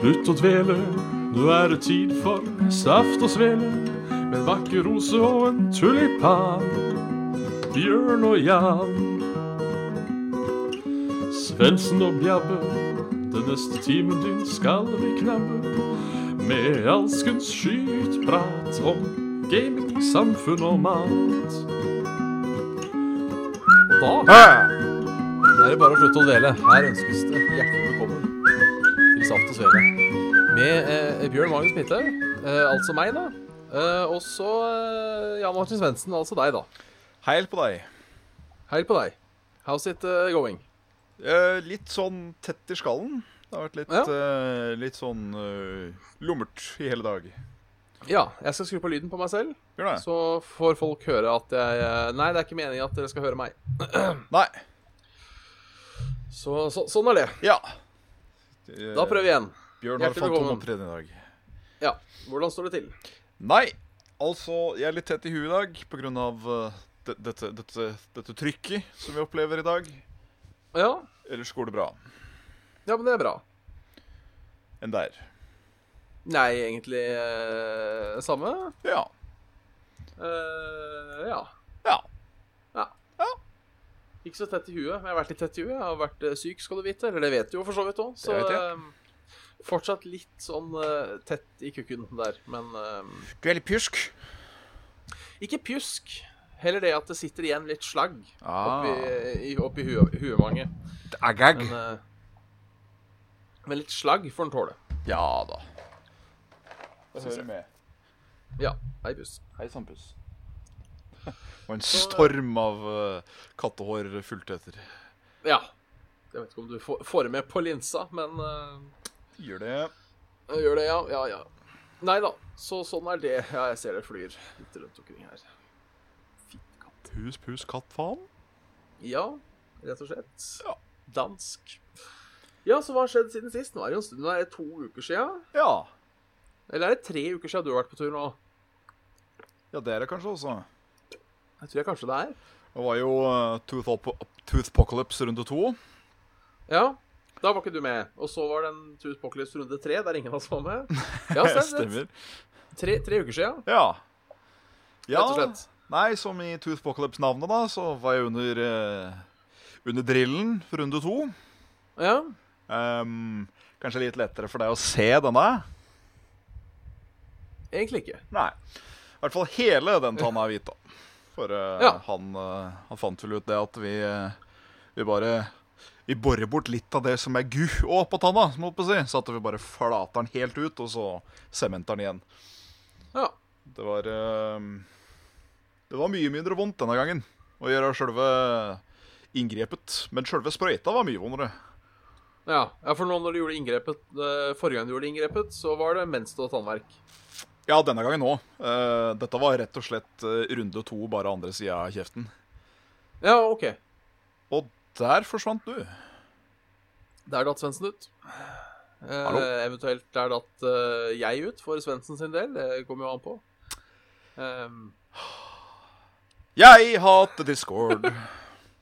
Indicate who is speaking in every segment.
Speaker 1: Slutt å dvele, nå er det tid for saft og svele. Med en vakker rose og en tulipan. Bjørn og Jan. Svendsen og Bjabbe, den neste timen din skal vi knabbe. Med alskens skytprat om gaming, samfunn og mat. Og da
Speaker 2: Da er det bare å slutte å dele. Her ønskes det hjertelig velkommen til Saft og Svele. Med eh, Bjørn Magnus Midthaug, eh, altså meg, da. Eh, og så eh, Jan Martin Svendsen, altså deg, da.
Speaker 3: Heil på deg.
Speaker 2: Hei på deg. How's it eh, going?
Speaker 3: Eh, litt sånn tett i skallen. Det har vært litt,
Speaker 2: Ja.
Speaker 3: eh, litt sånn eh, lummert i hele dag.
Speaker 2: Ja, jeg skal skru på lyden på meg selv,
Speaker 3: Bjørn,
Speaker 2: så får folk høre at jeg eh, Nei, det er ikke meningen at dere skal høre meg.
Speaker 3: Nei.
Speaker 2: Så, så sånn er det.
Speaker 3: Ja. Eh,
Speaker 2: Da prøver vi igjen.
Speaker 3: Bjørn har
Speaker 2: Hjertelig velkommen.
Speaker 3: fantomopptreden i dag.
Speaker 2: Ja. Hvordan står det til?
Speaker 3: Nei. Altså, jeg er litt tett i huet i dag pga. Uh, dette, dette, dette trykket som vi opplever i dag.
Speaker 2: Ja,
Speaker 3: Ellers går det bra.
Speaker 2: ja men det er bra.
Speaker 3: Enn der.
Speaker 2: Nei, egentlig eh, samme.
Speaker 3: Ja.
Speaker 2: Eh, ja.
Speaker 3: Ja.
Speaker 2: Ikke så tett i huet, men jeg har vært litt tett i huet. Jeg har vært eh, syk, skal du vite. Eller det vet du jo for så vidt òg. Så
Speaker 3: Det vet jeg.
Speaker 2: eh, fortsatt litt sånn eh, tett i kukken der. Men eh,
Speaker 3: Du er litt pjusk.
Speaker 2: ikke pjusk. Heller det at det sitter igjen litt slagg
Speaker 3: Ah.
Speaker 2: oppi, i, oppi hue, huemanget.
Speaker 3: Agag.
Speaker 2: Men, eh, men litt slagg får en tåle.
Speaker 3: Ja da. Det
Speaker 2: synes jeg.
Speaker 3: hører med.
Speaker 2: Ja. Hei, pust.
Speaker 3: Hei, Sampus. Og en storm av eh, kattehår fulgte etter.
Speaker 2: Ja. Jeg vet ikke om du får- får det med på linsa, men eh,
Speaker 3: Gjør det.
Speaker 2: Jeg Gjør det, ja. Ja, ja. Nei da. Så sånn er det. Ja, jeg ser det flyr litt rundt omkring her.
Speaker 3: Pus, pus, katt, faen.
Speaker 2: Ja, rett og slett.
Speaker 3: Ja.
Speaker 2: Dansk. Ja, så hva har skjedd siden sist? Nå er det jo en stund. Nå er det to uker sia.
Speaker 3: Ja.
Speaker 2: Eller er det tre uker sia du har vært på tur nå?
Speaker 3: ja, det er det kanskje også.
Speaker 2: Jeg tror jeg kanskje det er.
Speaker 3: Det var jo eh, Tooth Op- Toothpocalypse runde to.
Speaker 2: Ja. Da var ikke du med. Og så var det en Tooth Pockelips runde tre, der ingen av oss var med. Ja, så er det
Speaker 3: Stemmer.
Speaker 2: Tre, tre uker sia,
Speaker 3: Ja.
Speaker 2: rett og slett.
Speaker 3: Nei, som i Toothpocalypse-navnet, da, så var jeg under eh, under drillen for runde to.
Speaker 2: Ja.
Speaker 3: Ehm, kanskje litt lettere for deg å se denne.
Speaker 2: Egentlig ikke.
Speaker 3: Nei. I hvert fall hele den tanna er hvit, da. For eh,
Speaker 2: Ja.
Speaker 3: han, eh, han fant vel ut det at vi, eh, vi bare Vi borer bort litt av det som er gu å, på tanna, som jeg holdt på å si. Så at vi bare flater den helt ut, og så sementer den igjen.
Speaker 2: Ja.
Speaker 3: Det var eh, Det var mye mindre vondt denne gangen å gjøre sjølve inngrepet. Men sjølve sprøyta var mye vondere.
Speaker 2: Ja, ja for nå når du gjorde inngrepet, eh, forrige gang du gjorde inngrepet, så var det mens du hadde tannverk.
Speaker 3: Ja, denne gangen òg. dette var rett og slett eh, runde to, bare andre sida av kjeften.
Speaker 2: Ja, OK.
Speaker 3: Og der forsvant du.
Speaker 2: Der datt Svendsen ut. Eh,
Speaker 3: Hallo?
Speaker 2: eventuelt der datt eh, jeg ut, for Svendsen sin del. Det kommer jo an på. Ehm,
Speaker 3: Jeg hater Discord.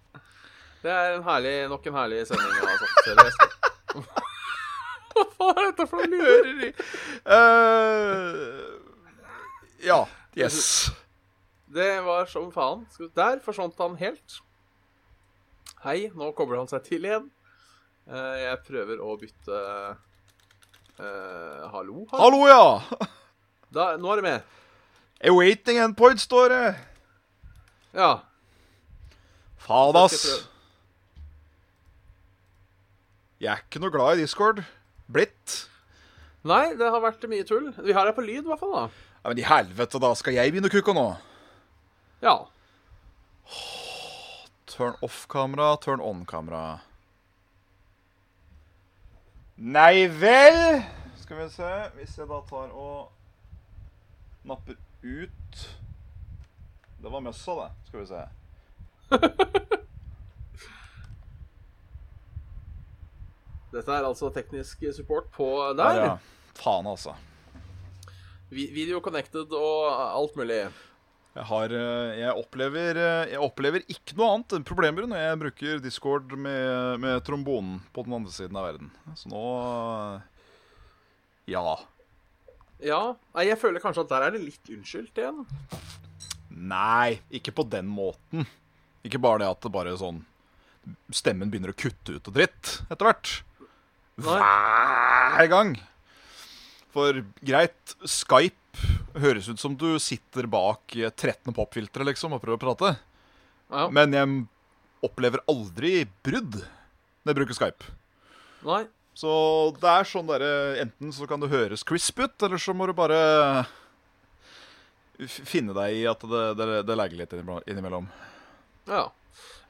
Speaker 2: det er en herlig, nok en herlig sending. Jeg har sagt selv. Jeg skal- Hva faen er dette for noe lure?
Speaker 3: Hører de? Eh, ja. Yes.
Speaker 2: Det var som faen. Skal- Der forsvant han helt. Hei, nå kobler han seg til igjen. Eh, jeg prøver å bytte eh, Hallo? hallo.
Speaker 3: Hallo, ja.
Speaker 2: Da, nå er det med.
Speaker 3: Awaiting endpoint, står det.
Speaker 2: Ja.
Speaker 3: Faen,
Speaker 2: Jeg skal
Speaker 3: ass.
Speaker 2: prøve.
Speaker 3: Jeg er ikke noe glad i Discord. Blitt.
Speaker 2: Nei, det har vært mye tull. Vi har deg på lyd, i hvert fall. da.
Speaker 3: Ja, men i helvete, da. Skal jeg begynne å kukke nå?
Speaker 2: Ja.
Speaker 3: Turn off-kamera, turn on-kamera. Nei vel! Skal vi se Hvis jeg da tar og napper ut Det var møssa, det. Skal vi se.
Speaker 2: Dette er altså teknisk support på
Speaker 3: Der,
Speaker 2: der.
Speaker 3: ja. Faen, altså.
Speaker 2: Vi- Video connected og alt mulig.
Speaker 3: Jeg, har, eh, jeg, opplever, eh, jeg opplever ikke noe annet enn problemer når jeg bruker Discord med, med trombonen på den andre siden av verden. Så nå eh, Ja.
Speaker 2: Ja, nei, jeg føler kanskje at der er det litt unnskyldt igjen.
Speaker 3: Nei, ikke på den måten. Ikke bare det at det bare sånn Stemmen begynner å kutte ut og dritt etter hvert.
Speaker 2: Nei.
Speaker 3: Hver gang. For greit, Skype høres ut som du sitter bak i et 13. popfiltre liksom, og prøver å prate.
Speaker 2: Ja,
Speaker 3: Men jeg opplever aldri brudd når jeg bruker Skype.
Speaker 2: nei.
Speaker 3: Så det er sånn derre Enten så kan det høres crisp ut, eller så må du bare f- finne deg i at det, det, det legger litt innimellom- innimellom.
Speaker 2: Ja.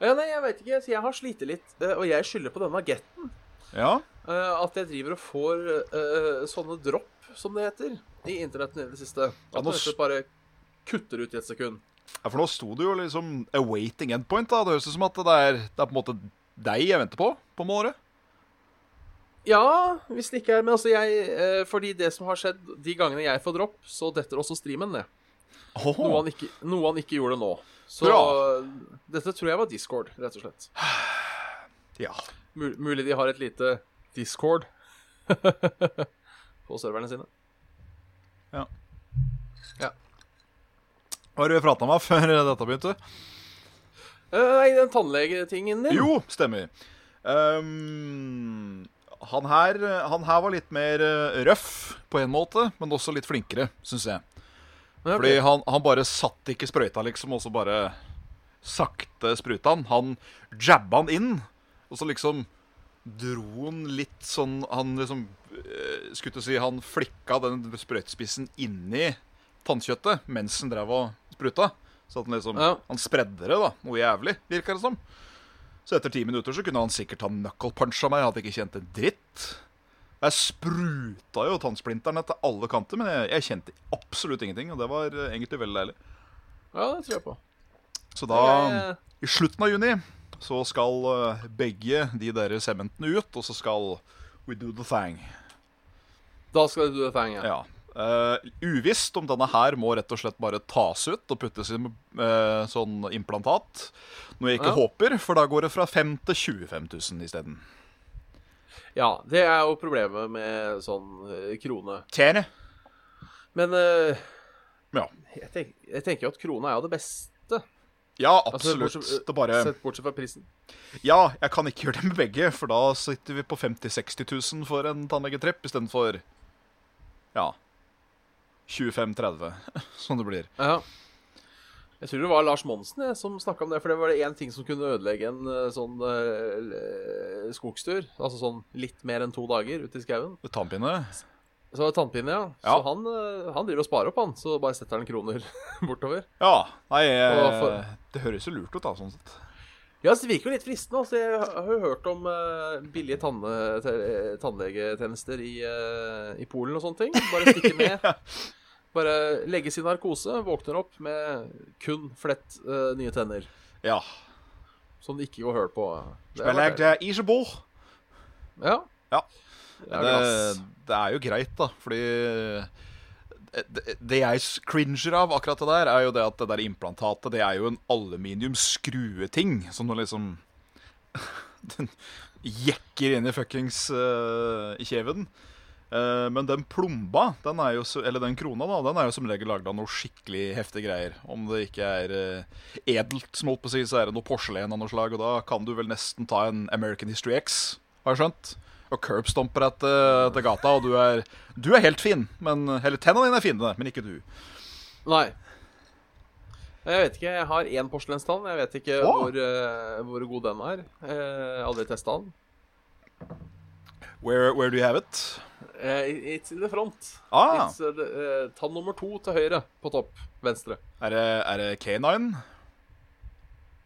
Speaker 2: Eh, Nei, jeg vet ikke. Så jeg har slitt litt, eh, og jeg skylder på denne getten.
Speaker 3: Ja.
Speaker 2: eh, At jeg driver og får eh, sånne dropp, som det heter, i internetten i det siste.
Speaker 3: Ja,
Speaker 2: At
Speaker 3: nå
Speaker 2: det
Speaker 3: s-
Speaker 2: rett og slett bare kutter ut i et sekund.
Speaker 3: Ja, For nå sto det jo liksom 'awaiting endpoint'. da Det høres ut som at det er, det er på en måte deg jeg venter på på målet.
Speaker 2: Ja, hvis det ikke er Men altså, jeg eh, Fordi det som har skjedd de gangene jeg får dropp, så detter også streamen ned. Noe han ikke, noe han ikke gjorde nå. Så
Speaker 3: Bra.
Speaker 2: dette tror jeg var Discord, rett og slett.
Speaker 3: Ja.
Speaker 2: Mul mulig de har et lite Discord på serverne sine.
Speaker 3: Hva har du prata med før dette begynte?
Speaker 2: Eh, Nei, den tannlegetingen din.
Speaker 3: Jo, stemmer. Ehm, han, her, han her var litt mer eh, røff på en måte, men også litt flinkere, syns jeg.
Speaker 2: Ja, ok.
Speaker 3: Fordi han, han bare satt ikke sprøyta, liksom, og så bare sakte spruta han. Han jabba han inn, og så liksom dro han litt sånn Han liksom eh, Skulle til å si han flikka den sprøytespissen inni tannkjøttet mens han drev og spruta. Så at han liksom
Speaker 2: Ja.
Speaker 3: Han spredde det, da. Noe jævlig, virka det som. Så etter ti minutter så kunne han sikkert ha knuckle-puncha meg. Jeg hadde ikke kjent en dritt. Jeg spruta jo tannsplinterne til alle kanter, men jeg, jeg kjente absolutt ingenting. Og det var eh, egentlig veldig deilig.
Speaker 2: Ja, det tror jeg på.
Speaker 3: Så da, i slutten av juni, så skal eh, begge de der sementene ut, og så skal we do the thing.
Speaker 2: Da skal du det fanget.
Speaker 3: Ja. Eh, uvisst om denne her må rett og slett bare tas ut og puttes i eh, sånn implantat. Noe jeg ikke
Speaker 2: Ja.
Speaker 3: håper, for da går det fra 5 til 25 000 isteden.
Speaker 2: ja, det er jo problemet med sånn eh, krone.
Speaker 3: Tjene.
Speaker 2: Men eh,
Speaker 3: Ja.
Speaker 2: jeg, tenk, jeg tenker jo at krona er jo det beste.
Speaker 3: Ja,
Speaker 2: Altså,
Speaker 3: absolutt.
Speaker 2: bortsett-
Speaker 3: det bare
Speaker 2: Sett bortsett fra prisen.
Speaker 3: Ja, jeg kan ikke gjøre det med begge, for da sitter vi på 50 60 000 for en tannlegetripp istedenfor ja 25-30, som det blir.
Speaker 2: Ja. Jeg tror det var Lars Monsen jeg, som snakka om det, for det var det én ting som kunne ødelegge en eh, sånn eh, l- skogstur. Altså sånn litt mer enn to dager ute i skauen.
Speaker 3: Tannpinne?
Speaker 2: Så var det tannpinne, ja.
Speaker 3: Ja.
Speaker 2: Så han, eh, han driver og sparer opp, han. Så bare setter han kroner bortover.
Speaker 3: Ja. Nei,
Speaker 2: Og
Speaker 3: eh,
Speaker 2: for-
Speaker 3: det høres jo lurt ut, da, sånn sett.
Speaker 2: Ja, så det virker jo litt fristende. Altså, jeg har jo hørt om eh, billige tanne, te- tannlegetjenester i, eh, i Polen og sånne ting. Bare stikke ned. Bare legges i narkose, våkner opp med kun flett eh, nye tenner.
Speaker 3: Ja.
Speaker 2: Som det ikke går høl på. Det er
Speaker 3: Men jeg,
Speaker 2: deilig.
Speaker 3: jeg, isebol.
Speaker 2: ja.
Speaker 3: Ja.
Speaker 2: Det er
Speaker 3: Det,
Speaker 2: glass.
Speaker 3: det er jo greit, da, fordi eh, det, det jeg s- cringer av akkurat det der, er jo det at det der implantatet, det er jo en aluminiumskrueting som nå liksom Den jekker inn i fuckings eh, kjeven. Eh, men den plomba, den er jo, så- eller den krona, da, den er jo som regel lagd av noe skikkelig heftige greier. Om det ikke er eh, edelt, som holdt på å si, så er det noe porselen av noe slag. Og da kan du vel nesten ta en American History X, har jeg skjønt. Og curbstomper etter, etter gata, og du er, du er helt fin. Men, eller tennene dine er fine, men ikke du.
Speaker 2: Nei. Jeg vet ikke. Jeg har én porselenstann. Jeg vet ikke
Speaker 3: Å.
Speaker 2: hvor, eh, hvor god den er. Eh, aldri testa den.
Speaker 3: Where, where do you have it?
Speaker 2: Eh, it's in the front.
Speaker 3: Ah,
Speaker 2: It's, eh, the- eh, tann nummer to til høyre på topp. Venstre.
Speaker 3: er det, er det K9?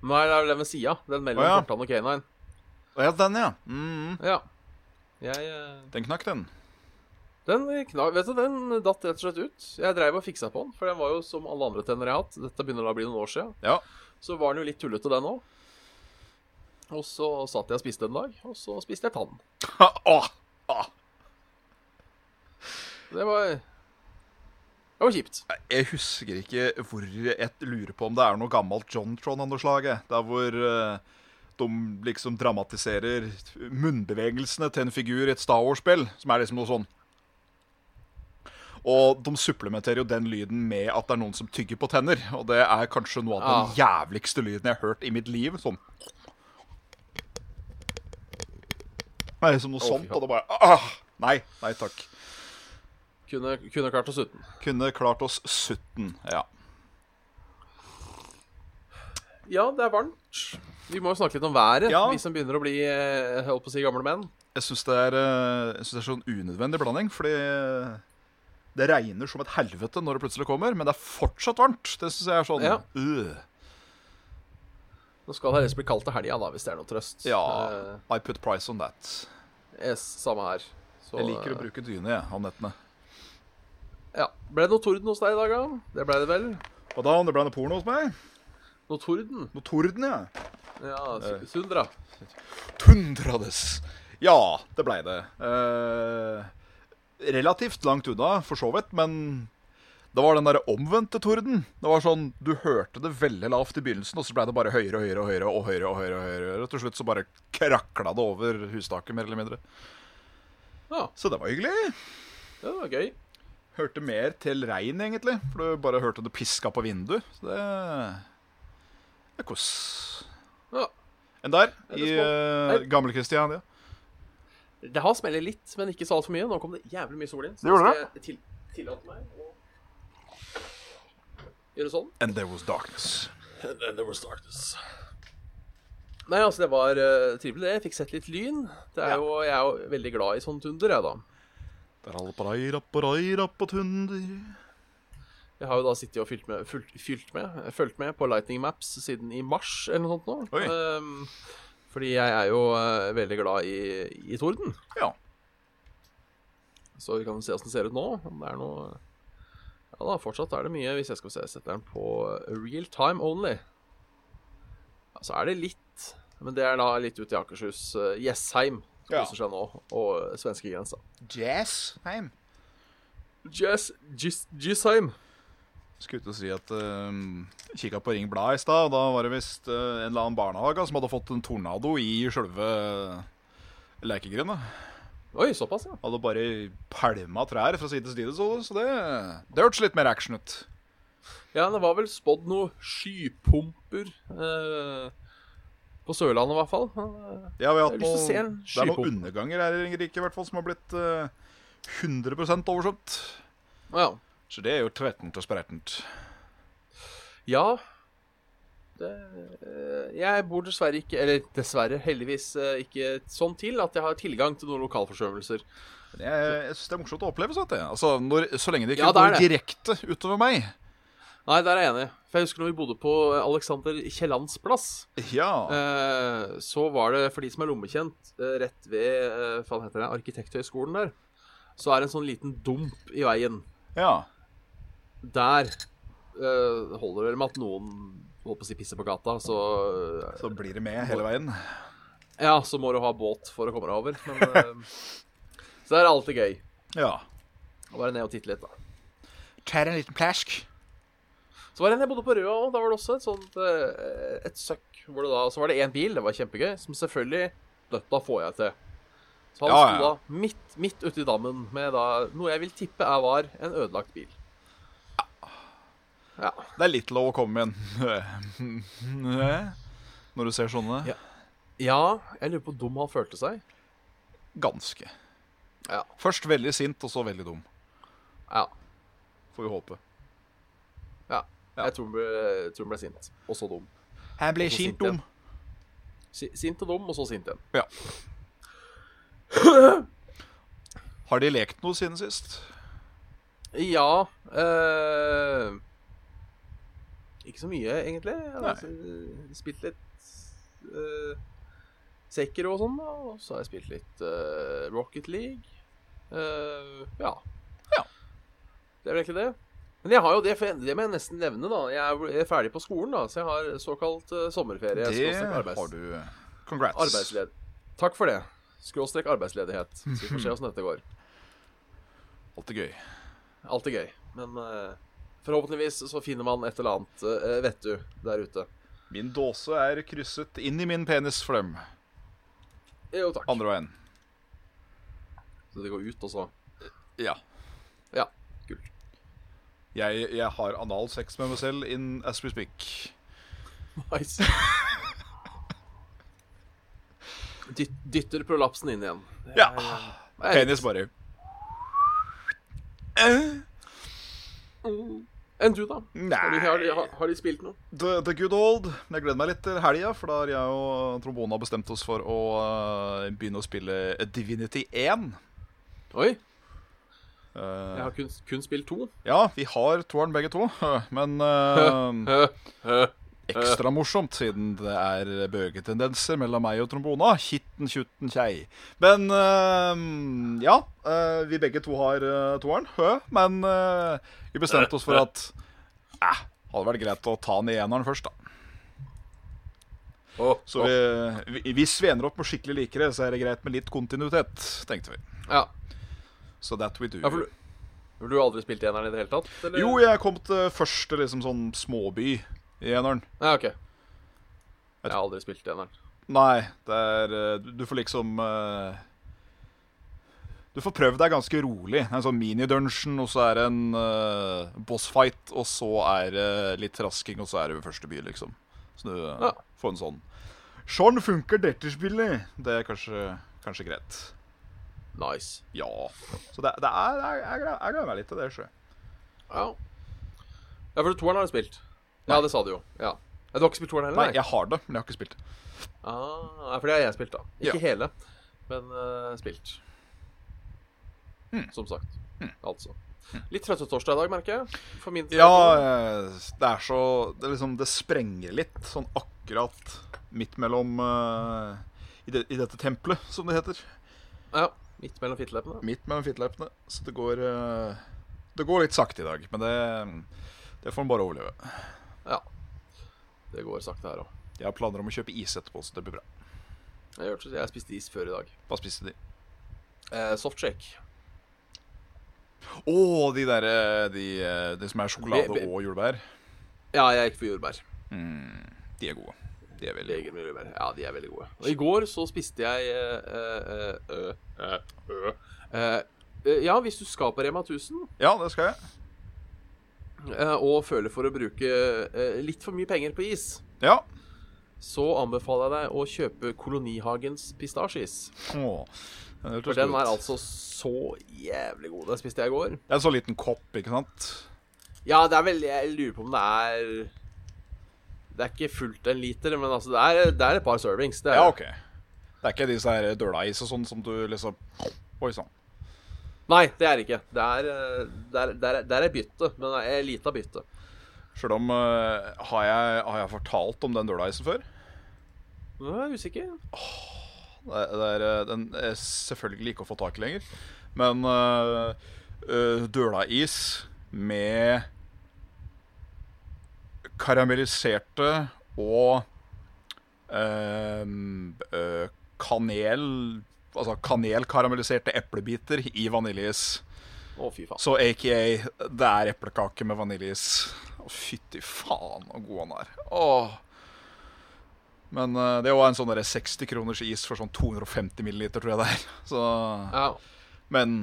Speaker 2: Nei, det er vel den ved sida. Den mellom
Speaker 3: Å, ja.
Speaker 2: fortann og canine.
Speaker 3: Å, Ja, den, ja. Mm,
Speaker 2: Ja. Jeg eh,
Speaker 3: den knakk, den.
Speaker 2: Den kna- Vet du, den datt rett og slett ut. Jeg dreiv og fiksa på den, for den var jo som alle andre tenner jeg har hatt. Dette begynner da å bli noen år siden.
Speaker 3: Ja.
Speaker 2: Så var den jo litt tullete, den òg. Og så satt jeg og spiste en dag, og så spiste jeg tann.
Speaker 3: Åh, åh.
Speaker 2: Det var Det var kjipt.
Speaker 3: Jeg husker ikke hvor Jeg lurer på om det er noe gammelt John Tron av noe slag. jeg. Der hvor eh, de liksom dramatiserer munnbevegelsene til en figur i et Star Wars-spill, som er liksom noe sånn Og de supplementerer jo den lyden med at det er noen som tygger på tenner. Og det er kanskje noe
Speaker 2: Ah.
Speaker 3: av den jævligste lyden jeg har hørt i mitt liv. Sånn Nei, som noe
Speaker 2: fy
Speaker 3: sånt.
Speaker 2: faen.
Speaker 3: Og det bare ah, Nei, nei takk.
Speaker 2: Kunne, kunne klart oss uten.
Speaker 3: Kunne klart oss sutten. Ja.
Speaker 2: Ja, det er varmt. Vi må jo snakke litt om været,
Speaker 3: Ja.
Speaker 2: vi som begynner å bli eh, holdt på å si gamle menn.
Speaker 3: Jeg syns det, er, eh, jeg synes det er sånn unødvendig blanding, fordi eh, det regner som et helvete når det plutselig kommer, men det er fortsatt varmt. Det syns jeg er sånn
Speaker 2: Ja.
Speaker 3: øh.
Speaker 2: Nå skal det helst bli kaldt til helga, da, hvis det er noe trøst.
Speaker 3: Ja, I put price on that.
Speaker 2: Eh, yes, samme her. Så,
Speaker 3: Jeg liker å
Speaker 2: eh,
Speaker 3: bruke dyne jeg, om nettene.
Speaker 2: Ja. Ble det noe torden hos deg i dag, da? Det ble det vel?
Speaker 3: Og da om det ble noe porno hos meg?
Speaker 2: Noe torden?
Speaker 3: Noe torden, ja.
Speaker 2: Ja,
Speaker 3: Eh.
Speaker 2: su- Sundra.
Speaker 3: Tundrades. Ja, det blei det. Eh, relativt langt unna, for så vidt, men det var den derre omvendte torden. Det var sånn, Du hørte det veldig lavt i begynnelsen, og så blei det bare høyere og høyere og høyere. og høyere og høyere og høyere Og til slutt så bare krakla det over hustaket, mer eller mindre.
Speaker 2: Ja,
Speaker 3: Så det var hyggelig.
Speaker 2: det var gøy.
Speaker 3: Hørte mer til regn, egentlig, for du bare hørte det piska på vinduet. Så det Det er kos.
Speaker 2: Ja.
Speaker 3: Enn der,
Speaker 2: Ja, det
Speaker 3: i
Speaker 2: skal-
Speaker 3: uh,
Speaker 2: Nei.
Speaker 3: gamle Kristiania.
Speaker 2: Det har smellet litt, men ikke så altfor mye. Nå kom det jævlig mye sol inn. Så
Speaker 3: Det gjorde
Speaker 2: skal jeg til tillate meg å gjøre sånn.
Speaker 3: And there was darkness.
Speaker 2: Nei, altså, det var eh, trivelig, det. Jeg fikk sett litt lyn. Det er jo, jeg er jo veldig glad i sånn tunder, jeg, da.
Speaker 3: Der alle pareira, pareira på tunder.
Speaker 2: Jeg har jo da sittet og fylt med, fulgt, fylt med, fulgt med på Lightning Maps siden i mars eller noe sånt nå.
Speaker 3: Oi.
Speaker 2: Ehm, fordi jeg er jo eh, veldig glad i, i torden.
Speaker 3: Ja.
Speaker 2: Så vi kan se åssen det ser ut nå. Om det er noe Ja da, fortsatt er det mye. Hvis jeg skal se, jeg setter den på real time only. Ja, så er det litt. Men det er da litt ute i Akershus. eh, Jessheim
Speaker 3: Ja.
Speaker 2: koser seg nå, og svenskegrensa.
Speaker 3: Jazz heim.
Speaker 2: Jess, Jess, Jessheim.
Speaker 3: Skulle ut og si at uh, kikka på Ring Blad i stad, og da var det visst eh, en eller annen barnehage som hadde fått en tornado i sjølve lekegrinda.
Speaker 2: Oi, såpass, ja.
Speaker 3: Hadde bare pælma trær fra side til side, så, så det, det hørtes litt mer action ut.
Speaker 2: Ja, det var vel spådd noe skypumper eh, på Sørlandet, i hvert fall. Eh,
Speaker 3: Ja, vi har
Speaker 2: Jeg
Speaker 3: hatt
Speaker 2: har lyst til å se
Speaker 3: noen,
Speaker 2: en
Speaker 3: det er
Speaker 2: skypump.
Speaker 3: noen underganger her i Ringerike i hvert fall som har blitt eh, 100 oversvømt.
Speaker 2: eh, Ja.
Speaker 3: Så det er jo tvertent og spretent.
Speaker 2: Ja. Det, eh, jeg bor dessverre ikke, eller dessverre, heldigvis eh, ikke sånn til at jeg har tilgang til noen lokalforsømmelser.
Speaker 3: Men Jeg, jeg syns det er morsomt å oppleve sånt. jeg. Altså, når, så lenge det ikke
Speaker 2: Ja, det er
Speaker 3: går direkte utover meg.
Speaker 2: Nei, der er jeg enig. For jeg husker når vi bodde på eh, Alexander Kiellands plass,
Speaker 3: Ja.
Speaker 2: eh, så var det, for de som er lommekjent, eh, rett ved eh, hva heter det, Arkitekthøgskolen der, så er det en sånn liten dump i veien.
Speaker 3: ja.
Speaker 2: Der eh, holder det vel med at noen holdt på å si pisser på gata, så eh,
Speaker 3: Så blir det med hele veien.
Speaker 2: Ja, så må du ha båt for å komme deg over. Men, eh, så det er alltid gøy.
Speaker 3: Ja.
Speaker 2: Og bare ned og titte litt, da.
Speaker 3: Tar en liten plask.
Speaker 2: Så var det en jeg bodde på Røa òg. Da var det også et sånt eh, et søkk. Hvor det da, så var det én bil, det var kjempegøy, som selvfølgelig Dette får jeg til. Så han
Speaker 3: Ja, ja.
Speaker 2: sto da midt, midt uti dammen med da noe jeg vil tippe er var en ødelagt bil. Ja.
Speaker 3: Det er litt lov å komme med en Når du ser sånne.
Speaker 2: Ja. ja, jeg lurer på hvor dum han følte seg.
Speaker 3: Ganske.
Speaker 2: Ja.
Speaker 3: Først veldig sint, og så veldig dum.
Speaker 2: Ja.
Speaker 3: Får vi håpe.
Speaker 2: ja.
Speaker 3: Ja.
Speaker 2: Jeg tror han ble, tror han ble sint. Og så dum.
Speaker 3: Han ble
Speaker 2: Og så sint igjen. Si- Sint og dum, og så sint igjen.
Speaker 3: Ja. Har de lekt noe siden sist?
Speaker 2: Ja eh, Ikke så mye, egentlig. Jeg har
Speaker 3: Nei.
Speaker 2: s- spilt litt eh, Sekiro og sånn, da. Og så har jeg spilt litt eh, Rocket League. Eh, ja.
Speaker 3: Ja.
Speaker 2: Det er vel egentlig det. Men jeg har jo det, for det må jeg nesten nevne, da. Jeg er, jeg er ferdig på skolen, da, så jeg har såkalt eh, sommerferie.
Speaker 3: det
Speaker 2: skråstrek arbeids-
Speaker 3: har du. Congrats.
Speaker 2: Arbeidsled. Takk for det. Skråstrek arbeidsledighet. Så vi får se åssen dette går.
Speaker 3: Alltid gøy.
Speaker 2: Alltid gøy. Men eh, forhåpentligvis så finner man et eller annet uh, vettu der ute.
Speaker 3: Min dåse er krysset inn i min penis for dem.
Speaker 2: Jo, takk.
Speaker 3: Andre veien.
Speaker 2: Så det går ut, og så
Speaker 3: Ja.
Speaker 2: Ja.
Speaker 4: kult.
Speaker 3: Jeg, jeg har analsex med meg selv in as we speak.
Speaker 2: Nice. Dyt, dytter prolapsen inn igjen. Det
Speaker 3: Ja.
Speaker 2: er- det er
Speaker 3: Penis bare. Eh,
Speaker 2: litt- Mm. Enn du, da? Har de, har, de,
Speaker 3: Nei.
Speaker 2: har- har de spilt noe?
Speaker 3: The, the good old. Men Jeg gleder meg litt til helga, for da har jeg og Trombone har bestemt oss for å eh, begynne å spille Divinity 1.
Speaker 2: Oi,
Speaker 3: Eh,
Speaker 2: jeg har kun, kun spilt to.
Speaker 3: ja, vi har toeren begge to, men eh,
Speaker 2: Hø, hø.
Speaker 3: ekstra morsomt siden det er bøgetendenser mellom meg og trombona. Kitten, tjutten, kjei. Men eh, ja, eh, vi begge to har eh, toeren, hø, men eh, vi bestemte oss
Speaker 2: eh.
Speaker 3: for at eh, hadde vært greit å ta den i eneren først, da.
Speaker 2: Å,
Speaker 3: Så
Speaker 2: å.
Speaker 3: vi, vi- hvis vi ender opp med skikkelig likere, så er det greit med litt kontinuitet, tenkte vi.
Speaker 2: Ja,
Speaker 3: Så that we do.
Speaker 2: ja for, du, for du har aldri spilt eneren i det hele tatt? Eller?
Speaker 3: Jo, jeg kom til første liksom sånn småby i eneren.
Speaker 2: Nei, ok. Jeg har aldri spilt eneren.
Speaker 3: Nei, det er eh, Du du får liksom eh, Du får prøvd deg ganske rolig. Det er En sånn mini-dungeon, og så er det en eh, bossfight, og så er det litt trasking, og så er det ved første by, liksom. Så du eh,
Speaker 2: Ja.
Speaker 3: får en sånn Sånn funker dette spillet! Det er kanskje, kanskje greit.
Speaker 2: Nice.
Speaker 3: Ja. Så det, det er, jeg, jeg, gleder- jeg gleder meg litt til det, sjø.
Speaker 2: Ja. ja, for toeren har du spilt. Ja, det sa du jo. Ja. Ja, Du har ikke spilt toeren heller?
Speaker 3: Nei, jeg har det, men jeg har ikke spilt det.
Speaker 2: Ah, ja, for det har jeg spilt, da. Ikke
Speaker 3: Ja.
Speaker 2: hele, men eh, spilt.
Speaker 3: Hmm.
Speaker 2: Som sagt. Altså. Litt trøtt og torsdag i dag, merker jeg. For min del.
Speaker 3: Ja, eh, det er så Det, er liksom, det sprenger litt, sånn akkurat midt mellom eh, i, det, I dette tempelet, som det heter.
Speaker 2: ja. Midt mellom fitteleppene.
Speaker 3: Midt mellom fitteleppene. Så det går eh, Det går litt sakte i dag, men det, det får en bare overleve.
Speaker 2: Ja. Det går sakte her òg.
Speaker 3: Jeg har planer om å kjøpe is etterpå, så det blir bra.
Speaker 2: Jeg, gjør det, jeg spiste is før i dag.
Speaker 3: Hva spiste de?
Speaker 2: Eh, softshake.
Speaker 3: Å, de derre de, eh, de som er sjokolade
Speaker 2: Be- be-
Speaker 3: og jordbær.
Speaker 2: Ja, jeg gikk for jordbær.
Speaker 3: De er gode. De er veldig
Speaker 2: Leger med jordbær. Ja, de er veldig gode. Og i går så spiste jeg eh, eh, eh, eh, eh, eh, Ja, hvis du skal på Rema 1000
Speaker 3: Ja, det skal jeg.
Speaker 2: eh, og føler for å bruke eh, litt for mye penger på is
Speaker 3: Ja.
Speaker 2: så anbefaler jeg deg å kjøpe Kolonihagens pistasjeis.
Speaker 3: Åh, den hørtes
Speaker 2: For den
Speaker 3: god ut.
Speaker 2: er altså så jævlig god. Den spiste jeg i går.
Speaker 3: Det er en sånn liten kopp, ikke sant?
Speaker 2: Ja, det er vel Jeg lurer på om det er Det er ikke fullt en liter, men altså det er, det er et par servings. Det er,
Speaker 3: Ja, OK. Det er ikke disse her dølais og sånn som du liksom Oi sann.
Speaker 2: Nei, det er det ikke. Det er, eh, det er, det er, det er et bytte, men det er et lite bytte.
Speaker 3: Sjøl om eh, har, jeg, har jeg fortalt om den dølaisen før?
Speaker 2: Nå er jeg usikker.
Speaker 3: Det, det er, eh, den er selvfølgelig ikke å få tak i lenger. Men uh, dølais med karamelliserte og eh, eh, kanel Altså kanelkaramelliserte eplebiter i vaniljeis.
Speaker 2: Å, fy faen.
Speaker 3: Så aka det er eplekake med vaniljeis. Å, fytti faen så god han er. Åh. Men eh, det er jo en sånn der 60 kroners is for sånn 250 milliliter, tror jeg det er. Så,
Speaker 2: Ja.
Speaker 3: men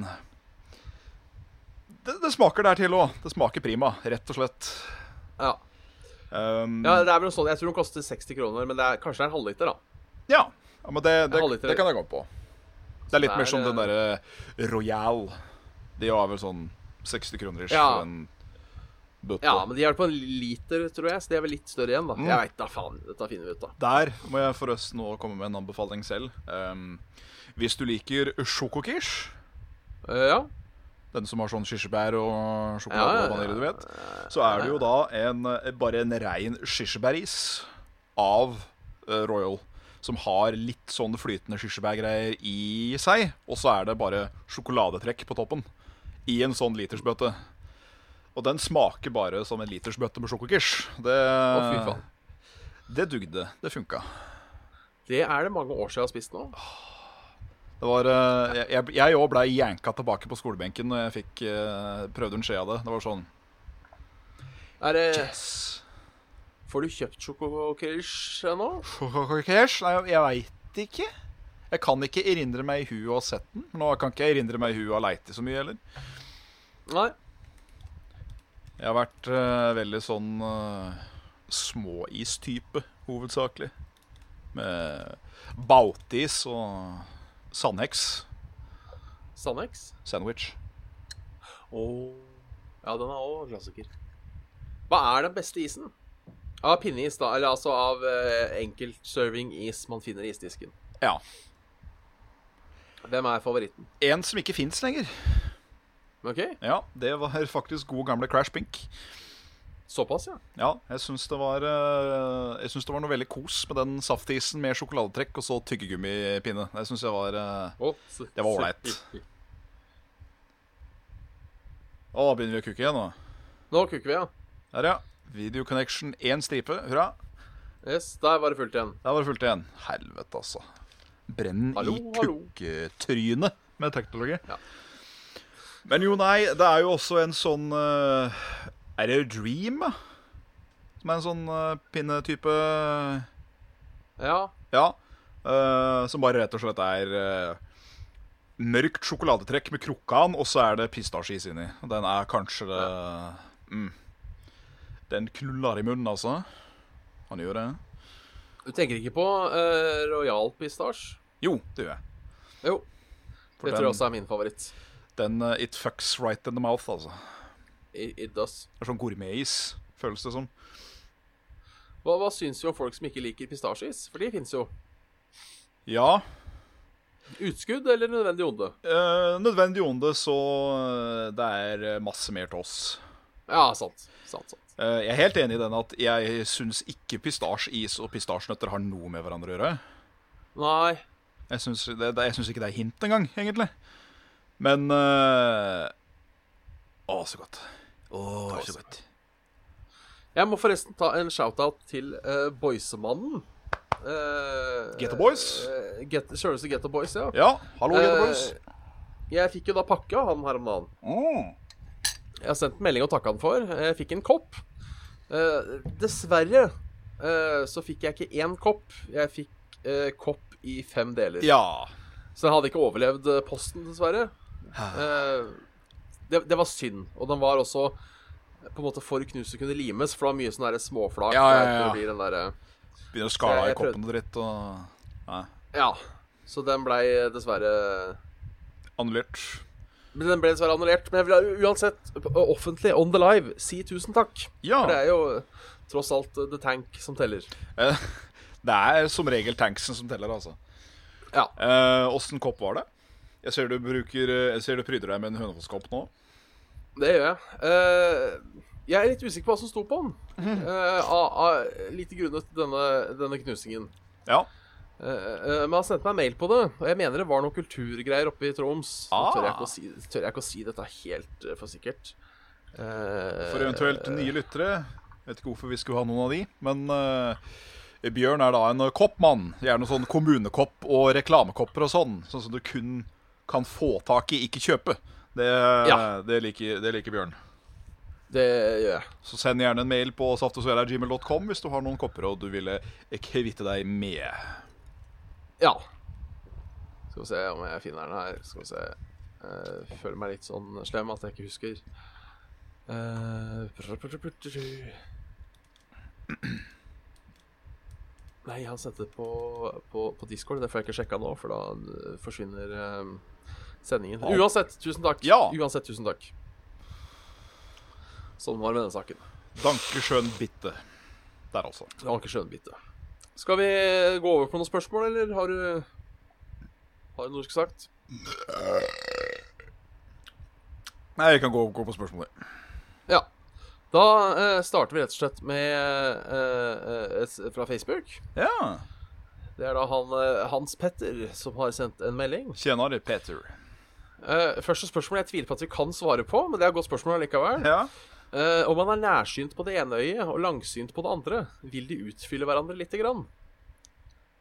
Speaker 3: det, det smaker der til òg. Det smaker prima, rett og slett.
Speaker 2: ja.
Speaker 3: Um,
Speaker 2: ja, det er vel noe sånt. Jeg tror den koster 60 kroner, men det er, kanskje det er en halvliter, da.
Speaker 3: ja. ja, men det, det,
Speaker 2: halvliter.
Speaker 3: det kan jeg gå på. Det er litt
Speaker 2: det er,
Speaker 3: mer som den
Speaker 2: eh,
Speaker 3: derre Royal. De har vel sånn 60 kroner ish
Speaker 2: Ja.
Speaker 3: for en bøtte.
Speaker 2: Ja, men de er på en liter, tror jeg, så de er vel litt større igjen, da. Jeg veit da faen. Dette finner vi ut av.
Speaker 3: Der må jeg forresten nå komme med en anbefaling selv. Ehm, hvis du liker sjokokish,
Speaker 2: Eh, ja.
Speaker 3: den som har sånn kirsebær og sjokolade
Speaker 2: Ja, ja,
Speaker 3: og vanilje, du
Speaker 2: ja.
Speaker 3: vet, så er det jo da en, eh, bare en rein kirsebæris av eh, Royal. Som har litt sånn flytende kirsebærgreier i seg, og så er det bare sjokoladetrekk på toppen. I en sånn litersbøtte. Og den smaker bare som en litersbøtte med sjokokish. Det,
Speaker 2: Å, fy faen.
Speaker 3: det dugde. Det funka.
Speaker 2: Det er det mange år siden jeg har spist nå.
Speaker 3: Det var, eh, jeg- jeg- jeg òg blei janka tilbake på skolebenken når jeg fikk eh, prøvd en skje av det. Det var sånn
Speaker 2: Er det,
Speaker 3: yes.
Speaker 2: får du kjøpt sjokokrish ennå?
Speaker 3: Cash? Nei, jeg veit ikke. Jeg kan ikke erindre meg i huet å ha sett den. Nå kan ikke jeg erindre meg i huet å ha leit i så mye heller.
Speaker 2: Nei.
Speaker 3: Jeg har vært eh, veldig sånn eh, småis-type, hovedsakelig. Med bautis og sandheks.
Speaker 2: Sandex?
Speaker 3: Sandwich.
Speaker 2: Ja, den er òg klassiker. Hva er den beste isen? Av pinneis, da. Eller altså av eh, enkeltserving is man finner i isdisken.
Speaker 3: Ja.
Speaker 2: Hvem er favoritten?
Speaker 3: En som ikke fins lenger.
Speaker 2: OK,
Speaker 3: Ja, det var faktisk god gamle Crash Pink.
Speaker 2: såpass, ja.
Speaker 3: Ja, jeg syns det var eh, Jeg synes det var noe veldig kos med den saftisen med sjokoladetrekk og så tyggegummipinne. Det syns jeg var eh,
Speaker 2: Å, s-
Speaker 3: Det var ålreit. Å, begynner vi å kukke igjen nå?
Speaker 2: Nå kukker vi, ja.
Speaker 3: Der, ja. Video Connection én stripe. Hurra.
Speaker 2: Yes, der var det fullt igjen.
Speaker 3: Der var det fullt igjen. Helvete, altså. Brenn
Speaker 2: Hallo,
Speaker 3: i
Speaker 2: hallo.
Speaker 3: kukketrynet med teknologi.
Speaker 2: Ja.
Speaker 3: Men jo, nei, det er jo også en sånn eh, Er det Dream, da? Som er en sånn eh, pinnetype
Speaker 2: Ja.
Speaker 3: Ja. eh, som bare rett og slett er eh, mørkt sjokoladetrekk med krukkan, og så er det pistasjeis inni. Og Den er kanskje det mm. Den knuller i munnen, altså. Han gjør det.
Speaker 2: Du tenker ikke på uh, Royal Pistasje?
Speaker 3: Jo, det gjør jeg.
Speaker 2: Jo.
Speaker 3: For
Speaker 2: det
Speaker 3: den-
Speaker 2: tror jeg også er min favoritt.
Speaker 3: Den eh, It fucks right in the mouth, altså.
Speaker 2: I- It does.
Speaker 3: Det er sånn gourmetis, føles det som.
Speaker 2: Hva, hva syns vi om folk som ikke liker pistasjeis? For de fins jo.
Speaker 3: Ja,
Speaker 2: Utskudd eller nødvendig onde?
Speaker 3: eh, nødvendig onde, så eh, det er eh, masse mer til oss.
Speaker 2: Ja, sant. Sant, sant.
Speaker 3: Eh, jeg er helt enig i den at jeg syns ikke pistasjeis og pistasjenøtter har noe med hverandre å gjøre.
Speaker 2: Nei.
Speaker 3: Jeg syns, det, det, jeg syns ikke det er hint engang, egentlig. Men eh, Å, så godt. Å, så godt.
Speaker 2: Jeg må forresten ta en shout-out til eh, Boysemannen. Eh,
Speaker 3: Get the boys?
Speaker 2: eh, get, Sjølveste Get the Boys, ja.
Speaker 3: Ja, hallo, Gete
Speaker 2: Eh,
Speaker 3: Boys.
Speaker 2: Jeg fikk jo da pakke av han her om dagen.
Speaker 3: Mm.
Speaker 2: Jeg har sendt en melding og takka han for. Jeg fikk en kopp. Eh, dessverre eh, så fikk jeg ikke én kopp. Jeg fikk eh, kopp i fem deler.
Speaker 3: Ja.
Speaker 2: Så jeg hadde ikke overlevd eh, posten, dessverre. Eh, det, det var synd. Og den var også eh, på en måte for knust og kunne limes, for det var mye sånn der småflak.
Speaker 3: Ja, ja,
Speaker 2: og
Speaker 3: ja.
Speaker 2: det blir den eh, derre-
Speaker 3: Begynner å skale av i
Speaker 2: Jeg prøvde-
Speaker 3: koppen og dritt. Og, nei,
Speaker 2: ja. Så den blei eh, dessverre
Speaker 3: annullert.
Speaker 2: men Den ble dessverre annullert. Men jeg vil ha- uansett, p- eh, offentlig, on the live, si tusen takk.
Speaker 3: Ja.
Speaker 2: For det er jo eh, tross alt eh, The Tank som teller.
Speaker 3: Eh, Det er som regel tanksen som teller, altså.
Speaker 2: Ja.
Speaker 3: Eh, Åssen kopp var det? Jeg ser du bruker eh, Jeg ser du pryder deg med en Hønefosskopp nå.
Speaker 2: Det gjør jeg. Eh, jeg er litt usikker på hva som sto på den. Eh, av, av lite grunnet denne, denne knusingen.
Speaker 3: Ja.
Speaker 2: Eh, eh, men han sendte meg mail på det, og jeg mener det var noen kulturgreier oppe i Troms. Nå
Speaker 3: Ah.
Speaker 2: Tør, jeg ikke å si, tør jeg ikke å si dette helt eh, for sikkert. Eh,
Speaker 3: For eventuelt nye lyttere. Vet ikke hvorfor vi skulle ha noen av de, men eh, Bjørn er da en eh, koppmann. Gjerne sånn kommunekopp og reklamekopper og sånn. Sånn som du kun kan få tak i, ikke kjøpe. Det,
Speaker 2: Ja.
Speaker 3: det, liker, det liker Bjørn.
Speaker 2: Det gjør jeg.
Speaker 3: Så send gjerne en mail på saftogsvela.gmail.com hvis du har noen kopper og du ville kvitte deg med.
Speaker 2: Ja. Skal vi se om jeg finner den her. Skal vi se. Eh, føler meg litt sånn slem at jeg ikke husker. Eh, prr, prr, prr, prr, prr. Nei, han sendte det på, på, på Discord. Det får jeg ikke sjekka nå, for da eh, forsvinner eh, sendingen.
Speaker 3: Ja.
Speaker 2: Uansett, tusen takk.
Speaker 3: Ja.
Speaker 2: Uansett, tusen takk. Sånn var det med den saken.
Speaker 3: Danke schön bitte. Der, altså.
Speaker 2: Det var ikke skjønnbite. Skal vi gå over på noen spørsmål, eller har du Har du noe du skulle sagt?
Speaker 3: Nei, jeg kan gå, gå på spørsmålet.
Speaker 2: Ja. Da eh, starter vi rett og slett med eh, eh, et fra Facebook.
Speaker 3: Ja.
Speaker 2: Det er da han, eh, Hans Petter som har sendt en melding.
Speaker 3: Tjenere, Peter.
Speaker 2: Eh, første spørsmål jeg tviler på at vi kan svare på, men det er et godt spørsmål likevel.
Speaker 3: Ja.
Speaker 2: Eh, om man er nærsynt på det ene øyet og langsynt på det andre, vil de utfylle hverandre lite grann?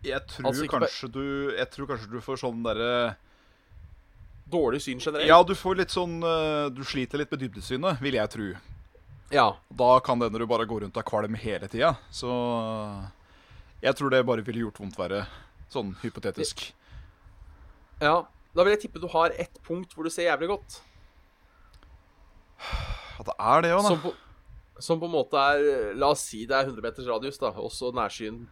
Speaker 3: Jeg tror,
Speaker 2: Altså, ikke
Speaker 3: kanskje du, jeg tror kanskje du får sånn derre
Speaker 2: Dårlig syn generelt?
Speaker 3: Ja, du får litt sånn eh, Du sliter litt med dybdesynet, vil jeg tro.
Speaker 2: ja.
Speaker 3: Da kan det hende du bare går rundt og er kvalm hele tida. Så eh, jeg tror det bare ville gjort vondt verre. Sånn hypotetisk.
Speaker 2: ja. Da vil jeg tippe du har ett punkt hvor du ser jævlig godt.
Speaker 3: At det er det òg, da.
Speaker 2: Som på, som på en måte er La oss si det er 100 meters radius, da, også nærsyn.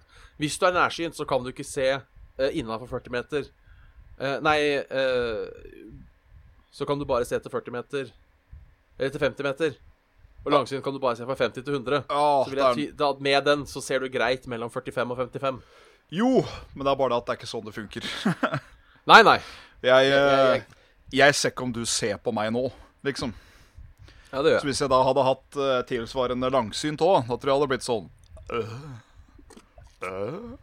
Speaker 2: Hvis du er nærsynt, så kan du ikke se uh, innafor 40 meter. Eh, nei eh, Så kan du bare se til 40 meter. Eller til 50 meter. Og langsynt kan du bare se fra 50 til 100.
Speaker 3: Åh,
Speaker 2: Så vil jeg
Speaker 3: det
Speaker 2: ty da, med den så ser du greit mellom 45 og 55.
Speaker 3: er- Jo, men det er bare det at det er ikke sånn det funker.
Speaker 2: Nei, nei.
Speaker 3: Jeg,
Speaker 2: jeg-
Speaker 3: eh, jeg ser ikke om du ser på meg nå, liksom.
Speaker 2: Ja, det
Speaker 3: Så hvis jeg da hadde hatt eh, tilsvarende langsynt òg, da tror jeg det hadde blitt sånn øh, øh.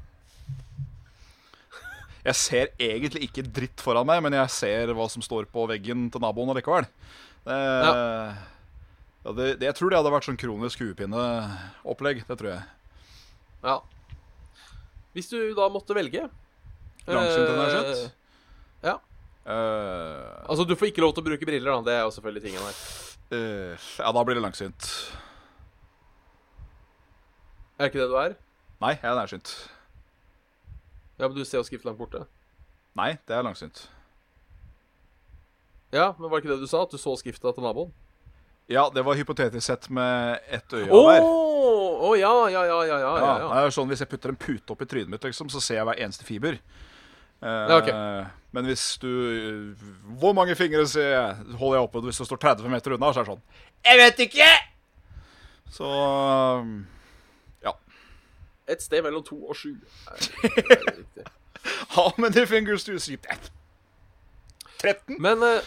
Speaker 3: Jeg ser egentlig ikke dritt foran meg, men jeg ser hva som står på veggen til naboen allikevel. Det, ja, det, det, jeg tror det hadde vært sånn kronisk huepinneopplegg. Det tror jeg.
Speaker 2: Ja. Hvis du da måtte velge
Speaker 3: Langsynt den er
Speaker 2: eh,
Speaker 3: skjønt.
Speaker 2: ja.
Speaker 3: Eh,
Speaker 2: Altså, du får ikke lov til å bruke briller, da. Det er jo selvfølgelig tingen her.
Speaker 3: eh, ja, da blir det langsynt.
Speaker 2: Er ikke det du er?
Speaker 3: Nei, jeg er nærsynt.
Speaker 2: Ja, men du ser jo skrift langt borte.
Speaker 3: Nei, det er langsynt.
Speaker 2: Ja, men var det ikke det du sa? At du så skrifta til naboen?
Speaker 3: Ja, det var hypotetisk sett med ett øye
Speaker 2: Å
Speaker 3: hver.
Speaker 2: Å, ja, ja, ja, ja, ja,
Speaker 3: Ja,
Speaker 2: ja, ja.
Speaker 3: Det er jo sånn, Hvis jeg putter en pute opp i trynet mitt, liksom, så ser jeg hver eneste fiber. Eh,
Speaker 2: Ja, ok.
Speaker 3: Men hvis du Hvor mange fingre ser jeg, holder jeg oppe hvis du står 30 meter unna? Så er det sånn Jeg vet ikke! Så um,
Speaker 2: Et sted mellom to og sju. Er- er det riktig.
Speaker 3: How many fingers do you see? 13?
Speaker 2: Men eh,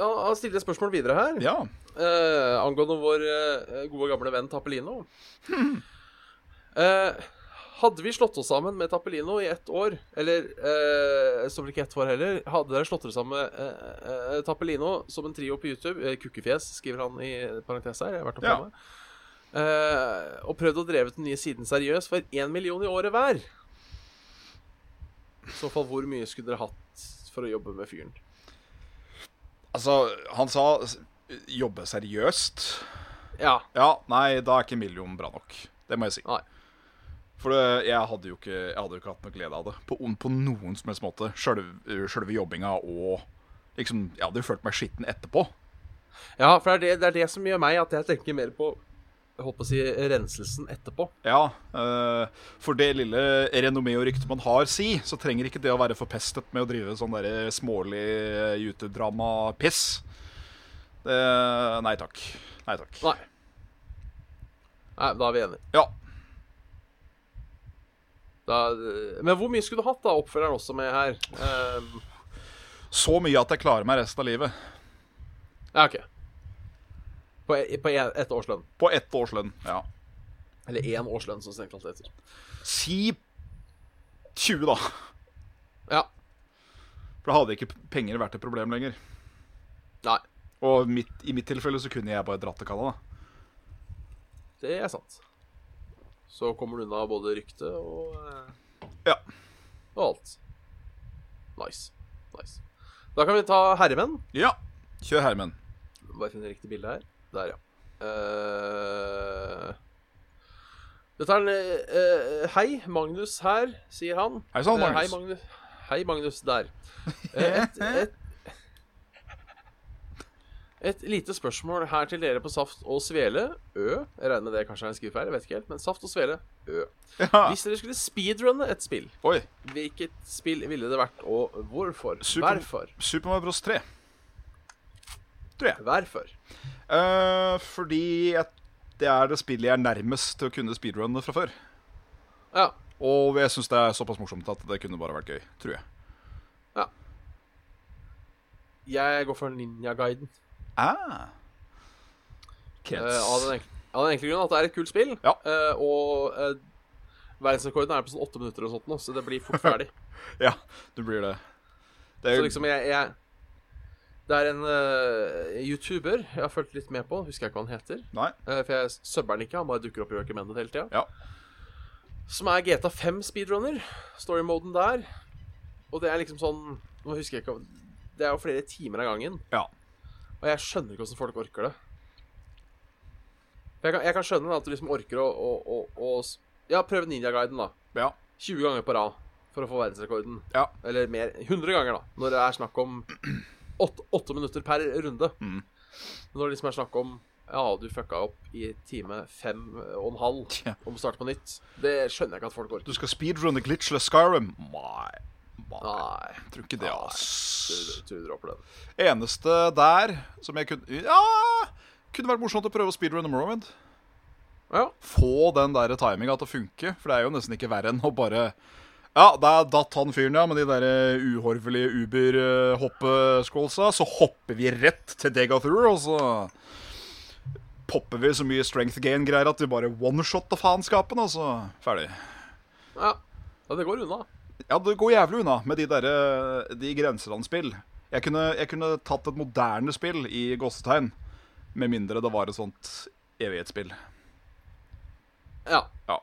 Speaker 2: ja, han stiller et spørsmål videre her.
Speaker 3: Ja.
Speaker 2: eh, angående vår eh, gode gamle venn Tappelino. Eh, hadde vi slått oss sammen med Tappelino i ett år, eller eh, som ikke ett år heller Hadde dere slått dere sammen med eh, eh, Tappelino som en trio på YouTube eh, Kukkefjes, skriver han i parentes her. Jeg har vært og
Speaker 3: Ja.
Speaker 2: prøvd meg. Eh, og prøvd å dreve den nye siden seriøs for én million i året hver. I så fall, hvor mye skulle dere hatt for å jobbe med fyren?
Speaker 3: Altså, han sa s- jobbe seriøst.
Speaker 2: Ja.
Speaker 3: Ja, nei, da er ikke million bra nok. Det må jeg si.
Speaker 2: Nei.
Speaker 3: For det, jeg, hadde jo ikke, jeg hadde jo ikke hatt noe glede av det på, på noen som helst måte. Sjølve sjølve jobbinga og liksom, Jeg hadde jo følt meg skitten etterpå.
Speaker 2: Ja, for det er det, det er det som gjør meg at jeg tenker mer på jeg holdt på å si renselsen etterpå.
Speaker 3: Ja, eh, For det lille renommé og rykte man har, si, så trenger ikke det å være forpestet med å drive sånn derre smålig eh, YouTube-drama-piss. Det, nei takk. Nei takk.
Speaker 2: Nei. Nei, Da er vi enige.
Speaker 3: Ja.
Speaker 2: Da, men hvor mye skulle du hatt, da? Oppfølgeren også med her. Ehm,
Speaker 3: Så mye at jeg klarer meg resten av livet.
Speaker 2: ja, OK. På, e- på e- ett årslønn.
Speaker 3: På ett års lønn. Ja.
Speaker 2: Eller én årslønn, som det strengt tatt heter.
Speaker 3: Si 20, da.
Speaker 2: Ja.
Speaker 3: For da hadde ikke penger vært et problem lenger.
Speaker 2: Nei.
Speaker 3: Og mitt, i mitt tilfelle så kunne jeg bare dratt til Canada.
Speaker 2: Det er sant. Så kommer du unna både rykte og eh,
Speaker 3: Ja.
Speaker 2: Og alt. Nice. Nice. Da kan vi ta herremenn.
Speaker 3: Ja. Kjør Herman.
Speaker 2: Bare finne riktig bilde her. Der, ja. Eh, Dette er en eh, eh, Hei, Magnus her, sier han.
Speaker 3: Hei sann,
Speaker 2: Eh,
Speaker 3: Magnus.
Speaker 2: hei, Magnus. Hei, Magnus der. Eh, et, et, et lite spørsmål her til dere på Saft og Svele. Ø. Jeg regner med det kanskje er en skrivefeil, jeg vet ikke helt. Men Saft og Svele. Ø.
Speaker 3: Ja.
Speaker 2: Hvis dere skulle speedrunne et spill,
Speaker 3: Oi.
Speaker 2: hvilket spill ville det vært, og hvorfor?
Speaker 3: Super-
Speaker 2: Hvorfor?
Speaker 3: Super Mario Bros 3.
Speaker 2: Hvorfor?
Speaker 3: Eh, fordi jeg, det er det spillet jeg er nærmest til å kunne speedrunne fra før.
Speaker 2: Ja.
Speaker 3: Og jeg syns det er såpass morsomt at det kunne bare vært gøy. Tror jeg.
Speaker 2: Jeg går for Ninja-guiden.
Speaker 3: Ah.
Speaker 2: Eh, av, den
Speaker 3: Krets.
Speaker 2: enkle, av den enkle grunnen at det er et kult spill.
Speaker 3: Ja.
Speaker 2: eh, og eh, verdensrekorden er på sånn åtte minutter og sånt nå, så det blir fort ferdig.
Speaker 3: ja, du blir det. Det er
Speaker 2: så
Speaker 3: jo
Speaker 2: liksom, jeg, jeg Det er en eh, YouTuber jeg har fulgt litt med på, husker jeg ikke hva han heter.
Speaker 3: Nei.
Speaker 2: eh, for jeg subber han ikke, han bare dukker opp i recommended hele tida.
Speaker 3: Ja.
Speaker 2: Som er GTA5 speedrunner. Story-moden der. Og det er liksom sånn Nå husker jeg ikke om- Det er jo flere timer av gangen.
Speaker 3: Ja.
Speaker 2: Og jeg skjønner ikke hvordan folk orker det. For Jeg kan, jeg kan skjønne at du liksom orker å, å, å, å s- Ja, prøve Ninjaguiden, da.
Speaker 3: Ja.
Speaker 2: 20 ganger på rad for å få verdensrekorden.
Speaker 3: Ja.
Speaker 2: Eller mer. 100 ganger, da. Når det er snakk om 8, minutter per runde.
Speaker 3: Mm.
Speaker 2: Når det liksom er snakk om eh, Ja, du fucka opp i time fem og en halv
Speaker 3: Ja.
Speaker 2: om start på nytt. Det skjønner jeg ikke at folk orker.
Speaker 3: Du skal speedrunne glitchless Skyrim? Nei. Nei.
Speaker 2: Nei,
Speaker 3: Jeg tror ikke det, ass.
Speaker 2: du, du dropper den.
Speaker 3: Eneste der som jeg kunne Ja! Kunne vært morsomt å prøve å speedrunne Morrowind.
Speaker 2: Ja,
Speaker 3: Få den der timinga til å funke, for det er jo nesten ikke verre enn å bare ja, der datt han fyren, ja, med de der eh, uhorvelige Uber-hoppescrollsa. Så hopper vi rett til Degathur, og så popper vi så mye strength gain-greier at vi bare one-shotta faenskapen, og så ferdig.
Speaker 2: ja. ja, det går unna.
Speaker 3: Ja, det går jævlig unna med de der, eh, de grenselandspill. Jeg kunne, jeg kunne tatt et moderne spill i gåsetegn, med mindre det var et sånt evighetsspill.
Speaker 2: Ja.
Speaker 3: Ja.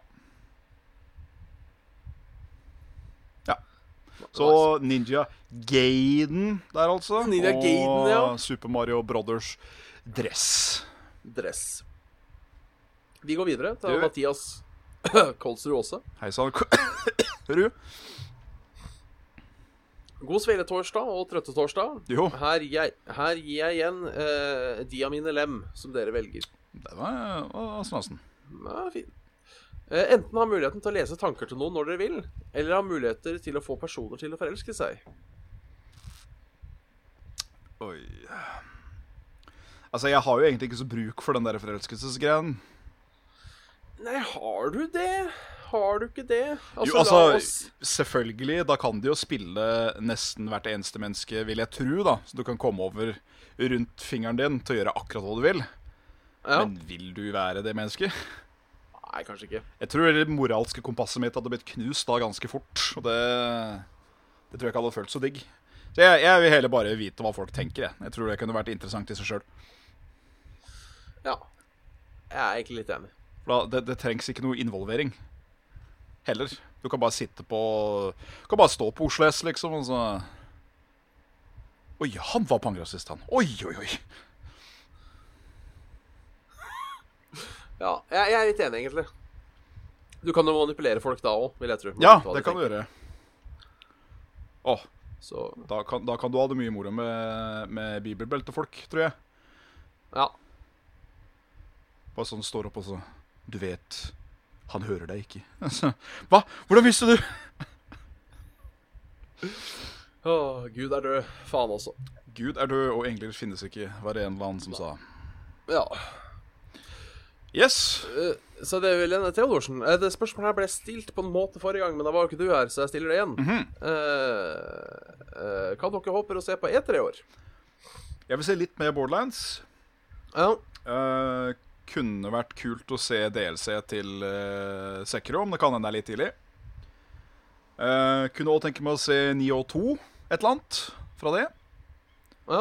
Speaker 3: Ja. Så Ninja Gaiden der, altså.
Speaker 2: Ninja
Speaker 3: og
Speaker 2: Gaiden, ja.
Speaker 3: Super Mario Brothers Dress.
Speaker 2: Dress. Vi går videre til
Speaker 3: Du-
Speaker 2: Mathias Kolsrud Aase.
Speaker 3: Hei sann. Ru.
Speaker 2: God sveletorsdag og trøttetorsdag.
Speaker 3: Jo,
Speaker 2: Her, jeg, her gir jeg igjen eh, de av mine lem som dere velger.
Speaker 3: det var, var snasen.
Speaker 2: Ja, fin. Eh, enten ha muligheten til å lese tanker til noen når dere vil, eller ha muligheter til å få personer til å forelske seg.
Speaker 3: Oi. Altså, jeg har jo egentlig ikke så bruk for den der forelskelsesgreien.
Speaker 2: Nei, har du det? Har du ikke det? Altså,
Speaker 3: Jo,
Speaker 2: la
Speaker 3: altså,
Speaker 2: oss
Speaker 3: selvfølgelig, da kan de jo spille nesten hvert eneste menneske, vil jeg tro, da. Så du kan komme over rundt fingeren din til å gjøre akkurat hva du vil.
Speaker 2: ja.
Speaker 3: Men vil du være det mennesket?
Speaker 2: Nei, kanskje ikke.
Speaker 3: Jeg tror det moralske kompasset mitt hadde blitt knust da ganske fort. Og det, det tror jeg ikke hadde følt så digg. Så jeg, jeg vil heller bare vite hva folk tenker, jeg. Jeg tror det kunne vært interessant i seg sjøl.
Speaker 2: Ja. Jeg er egentlig litt enig.
Speaker 3: Det, det trengs ikke noe involvering. Heller. Du kan bare sitte på Du kan bare stå på Oslo S, liksom, og så Oi, han var pangrasist, han. Oi, oi, oi.
Speaker 2: Ja, jeg, jeg er litt enig, egentlig. Du kan jo manipulere folk da òg, vil jeg tro.
Speaker 3: Ja, det kan du gjøre. Å,
Speaker 2: Så,
Speaker 3: da kan, da kan du ha det mye moro med, med bibelbeltefolk, tror jeg.
Speaker 2: ja.
Speaker 3: Bare sånn står opp og så Du vet, han hører deg ikke. Altså, Hva? Hvordan visste du?
Speaker 2: Å, Gud er død. Faen også.
Speaker 3: Gud er død, og engler finnes ikke, var det en eller annen som sa.
Speaker 2: Ja.
Speaker 3: Yes.
Speaker 2: eh, Så det er vel Lene Theodorsen. eh, Det spørsmålet her ble stilt på en måte forrige gang, men da var jo ikke du her, så jeg stiller det igjen. Eh, eh, hva dere håper å se på E3 i år?
Speaker 3: Jeg vil se litt mer Borderlands.
Speaker 2: Ja.
Speaker 3: Eh, kunne vært kult å se DLC til uh, Sekiro, om det kan hende det er litt tidlig. Eh, kunne òg tenke meg å se Nio 2, et eller annet, fra det.
Speaker 2: Ja.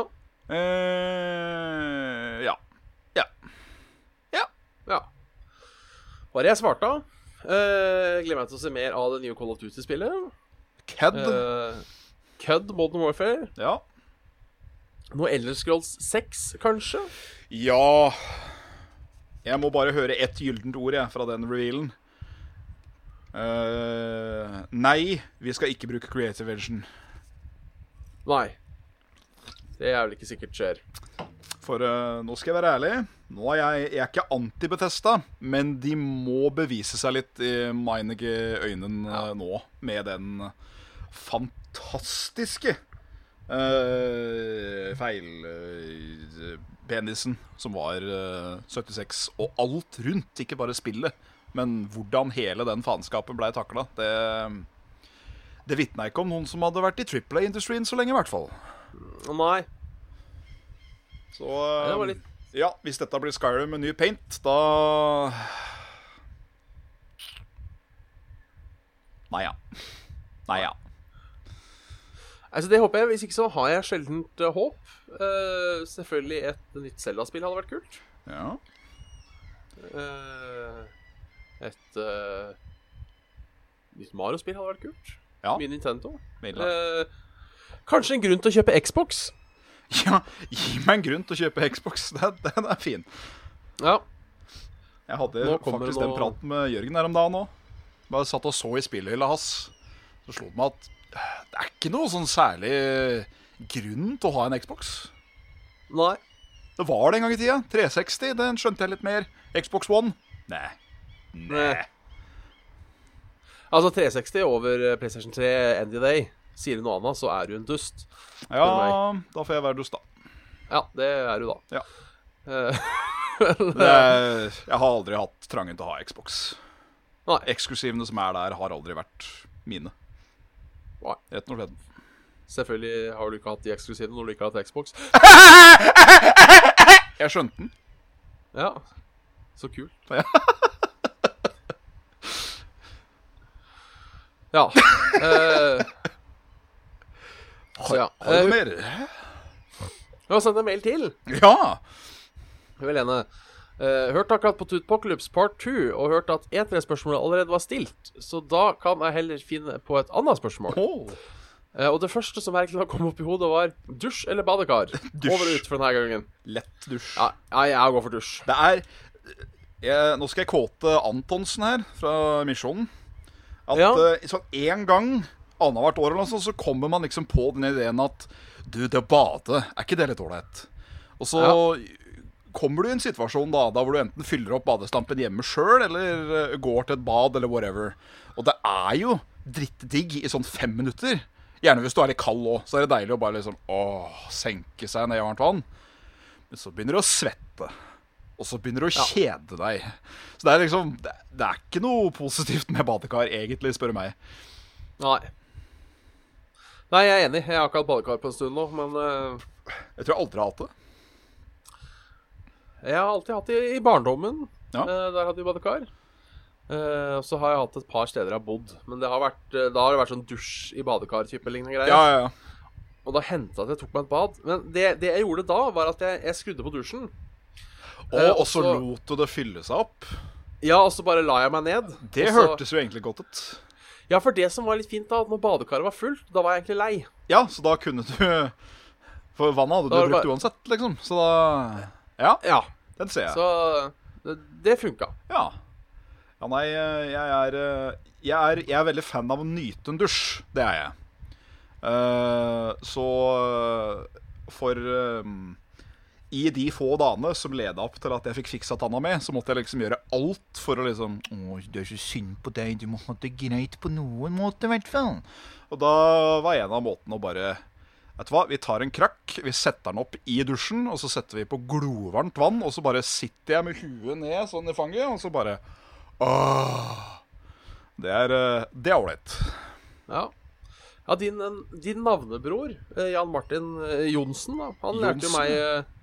Speaker 3: Eh, ja.
Speaker 2: ja. Bare jeg svarte, da. Eh, gleder meg til å se mer av det nye Call of Duty-spillet.
Speaker 3: Kødd.
Speaker 2: Eh, Kødd Modern Warfare.
Speaker 3: ja.
Speaker 2: Noe Elder Scrolls 6, kanskje?
Speaker 3: Ja Jeg må bare høre ett gyllent ord jeg, fra den revealen. Eh, nei, vi skal ikke bruke creative engine.
Speaker 2: Nei. Det er vel ikke sikkert skjer.
Speaker 3: For eh, nå skal jeg være ærlig. Nå er jeg, jeg er ikke anti-Betesta, men de må bevise seg litt i mine øynen eh, nå med den fantastiske uh, feilpenisen som var eh, 76, og alt rundt, ikke bare spillet. Men hvordan hele den faenskapen blei takla, det, det vitna ikke om noen som hadde vært i Triple A-industrien så lenge, i hvert fall.
Speaker 2: Å, Nei.
Speaker 3: Så
Speaker 2: det var
Speaker 3: eh,
Speaker 2: litt-
Speaker 3: ja, hvis dette blir Skyrim med ny paint, da Nei ja. Nei ja.
Speaker 2: Altså, det håper jeg. Hvis ikke så har jeg sjeldent eh, håp. Eh, selvfølgelig et nytt Zelda-spill hadde vært kult.
Speaker 3: ja.
Speaker 2: Eh, et eh, nytt Mario-spill hadde vært kult.
Speaker 3: Ja.
Speaker 2: Mye Nintendo.
Speaker 3: Midler.
Speaker 2: Eh, kanskje en grunn til å kjøpe Xbox.
Speaker 3: ja, gi meg en grunn til å kjøpe Xbox. Den, den er fin.
Speaker 2: Ja.
Speaker 3: Jeg hadde
Speaker 2: Nå kommer
Speaker 3: faktisk
Speaker 2: det
Speaker 3: den
Speaker 2: noe-
Speaker 3: praten med Jørgen her om dagen òg. Bare satt og så i spillhylla hans. Så slo det meg at eh, det eh, er ikke noe sånn særlig grunn til å ha en Xbox.
Speaker 2: Nei.
Speaker 3: Det var det en gang i tida. 360, den skjønte jeg litt mer. Xbox One? Nei.
Speaker 2: Nei. Eh. Altså 360 over eh, PlayStation 3 Andy Day. Sier du noe annet, så er du en dust.
Speaker 3: Ja, da får jeg være dust, da.
Speaker 2: Ja, det er du da.
Speaker 3: Ja.
Speaker 2: Eh,
Speaker 3: Det er, jeg har aldri hatt trangen til å ha Xbox.
Speaker 2: Nei.
Speaker 3: Eksklusivene som er der, har aldri vært mine.
Speaker 2: Nei.
Speaker 3: Rett og slett.
Speaker 2: Selvfølgelig har du ikke hatt de eksklusive når du ikke har hatt Xbox.
Speaker 3: Jeg skjønte den.
Speaker 2: Ja, så kult.
Speaker 3: Ja.
Speaker 2: ja. eh, så ja.
Speaker 3: Har du
Speaker 2: Eh,
Speaker 3: noe mer?
Speaker 2: vi har sendt en mail til.
Speaker 3: Ja!
Speaker 2: Helene. Uh, hørte akkurat på Tutpoklups part 2 og hørte at E3-spørsmålet allerede var stilt, så da kan jeg heller finne på et annet spørsmål.
Speaker 3: Oh.
Speaker 2: Eh, og det første som virkelig kom opp i hodet, var dusj eller badekar?
Speaker 3: Dusj.
Speaker 2: Over og ut for denne gangen.
Speaker 3: Lett dusj.
Speaker 2: Ja, ja, jeg går for dusj.
Speaker 3: Det er jeg, Nå skal jeg kåte Antonsen her fra Misjonen. At
Speaker 2: Ja.
Speaker 3: eh, sånn én gang annethvert år eller noe sånt, så kommer man liksom på den ideen at Du, det å bade, er ikke det litt ålreit? Og så kommer du i en situasjon da, da hvor du enten fyller opp badestampen hjemme sjøl, eller eh, går til et bad, eller whatever. Og det er jo drittdigg i sånn fem minutter. Gjerne hvis du er litt kald òg, så er det deilig å bare liksom åh, senke seg ned i varmt vann. Men så begynner du å svette. Og så begynner du å kjede deg. Så det er liksom Det, det er ikke noe positivt med badekar, egentlig, spør du meg.
Speaker 2: Nei. Nei, jeg er enig. Jeg har ikke hatt badekar på en stund nå, men eh,
Speaker 3: Jeg tror jeg aldri har hatt det.
Speaker 2: jeg har alltid hatt det i barndommen.
Speaker 3: Ja.
Speaker 2: Eh, der hadde vi badekar. Eh, og så har jeg hatt et par steder jeg har bodd, men det har vært, eh, da har det vært sånn dusj i badekar-type lignende greier.
Speaker 3: Ja, ja, ja.
Speaker 2: Og da hendte det at jeg tok meg et bad. Men det, det jeg gjorde da, var at jeg, jeg skrudde på dusjen. Eh,
Speaker 3: Og, og så
Speaker 2: også-
Speaker 3: lot du det fylle seg opp.
Speaker 2: Ja, og så bare la jeg meg ned.
Speaker 3: Det
Speaker 2: og så,
Speaker 3: hørtes jo egentlig godt ut.
Speaker 2: Ja, for det som var litt fint da, at når badekaret var fullt, da var jeg egentlig lei.
Speaker 3: Ja, så da kunne du For vannet hadde
Speaker 2: Da var
Speaker 3: du
Speaker 2: det
Speaker 3: brukt
Speaker 2: bare-
Speaker 3: uansett, liksom. Så da Ja,
Speaker 2: Ja,
Speaker 3: den ser jeg.
Speaker 2: så eh, det, det funka.
Speaker 3: Ja. ja nei, eh, jeg er, jeg, er, jeg er veldig fan av å nyte en dusj. Det er jeg. Eh, så for eh, I de få dagene som leda opp til at jeg fikk fiksa tanna mi, så måtte jeg liksom gjøre alt for å liksom Å, det er så synd på deg. Du må ha det greit på noen måte, i hvert fall. Og da var en av måtene å bare Vet du hva, Vi tar en krakk, vi setter den opp i dusjen, og så setter vi på glovarmt vann, og så bare sitter jeg med huet ned sånn i fanget, og så bare Åh. Det er eh, Det er ålreit.
Speaker 2: Ja. Ja, din, eh, din navnebror, eh, Jan Martin eh, Johnsen, da, han lærte jo
Speaker 3: Johnsen.
Speaker 2: meg eh,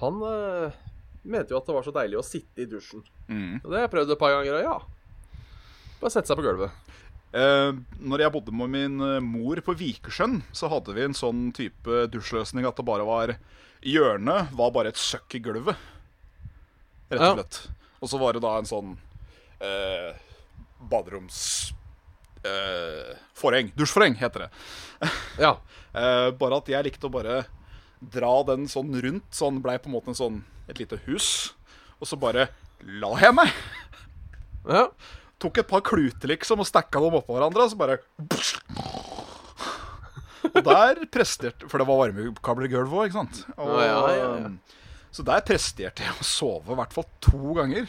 Speaker 2: Han eh, mente jo at det var så deilig å sitte i dusjen.
Speaker 3: Mm.
Speaker 2: Og det har jeg prøvd et par ganger, og ja. Bare sette seg på gulvet.
Speaker 3: Eh, når jeg bodde med min eh, mor på Vikersjøen, så hadde vi en sånn type dusjløsning at det bare var Hjørnet var bare et søkk i gulvet, rett
Speaker 2: Ja.
Speaker 3: og slett. Og så var det da en sånn eh, baderoms... Eh, forheng. Dusjforheng, heter det.
Speaker 2: Ja.
Speaker 3: Eh, bare at jeg likte å bare dra den sånn rundt, så den blei på en måte en sånn, et lite hus. Og så bare la jeg meg.
Speaker 2: ja.
Speaker 3: Tok et par kluter liksom og stakka dem oppå hverandre, og så bare Og der presterte For det var varmekabler i gulvet òg, ikke sant? Og, um,
Speaker 2: Ja, ja, ja, ja.
Speaker 3: Så der presterte jeg å sove i hvert fall to ganger.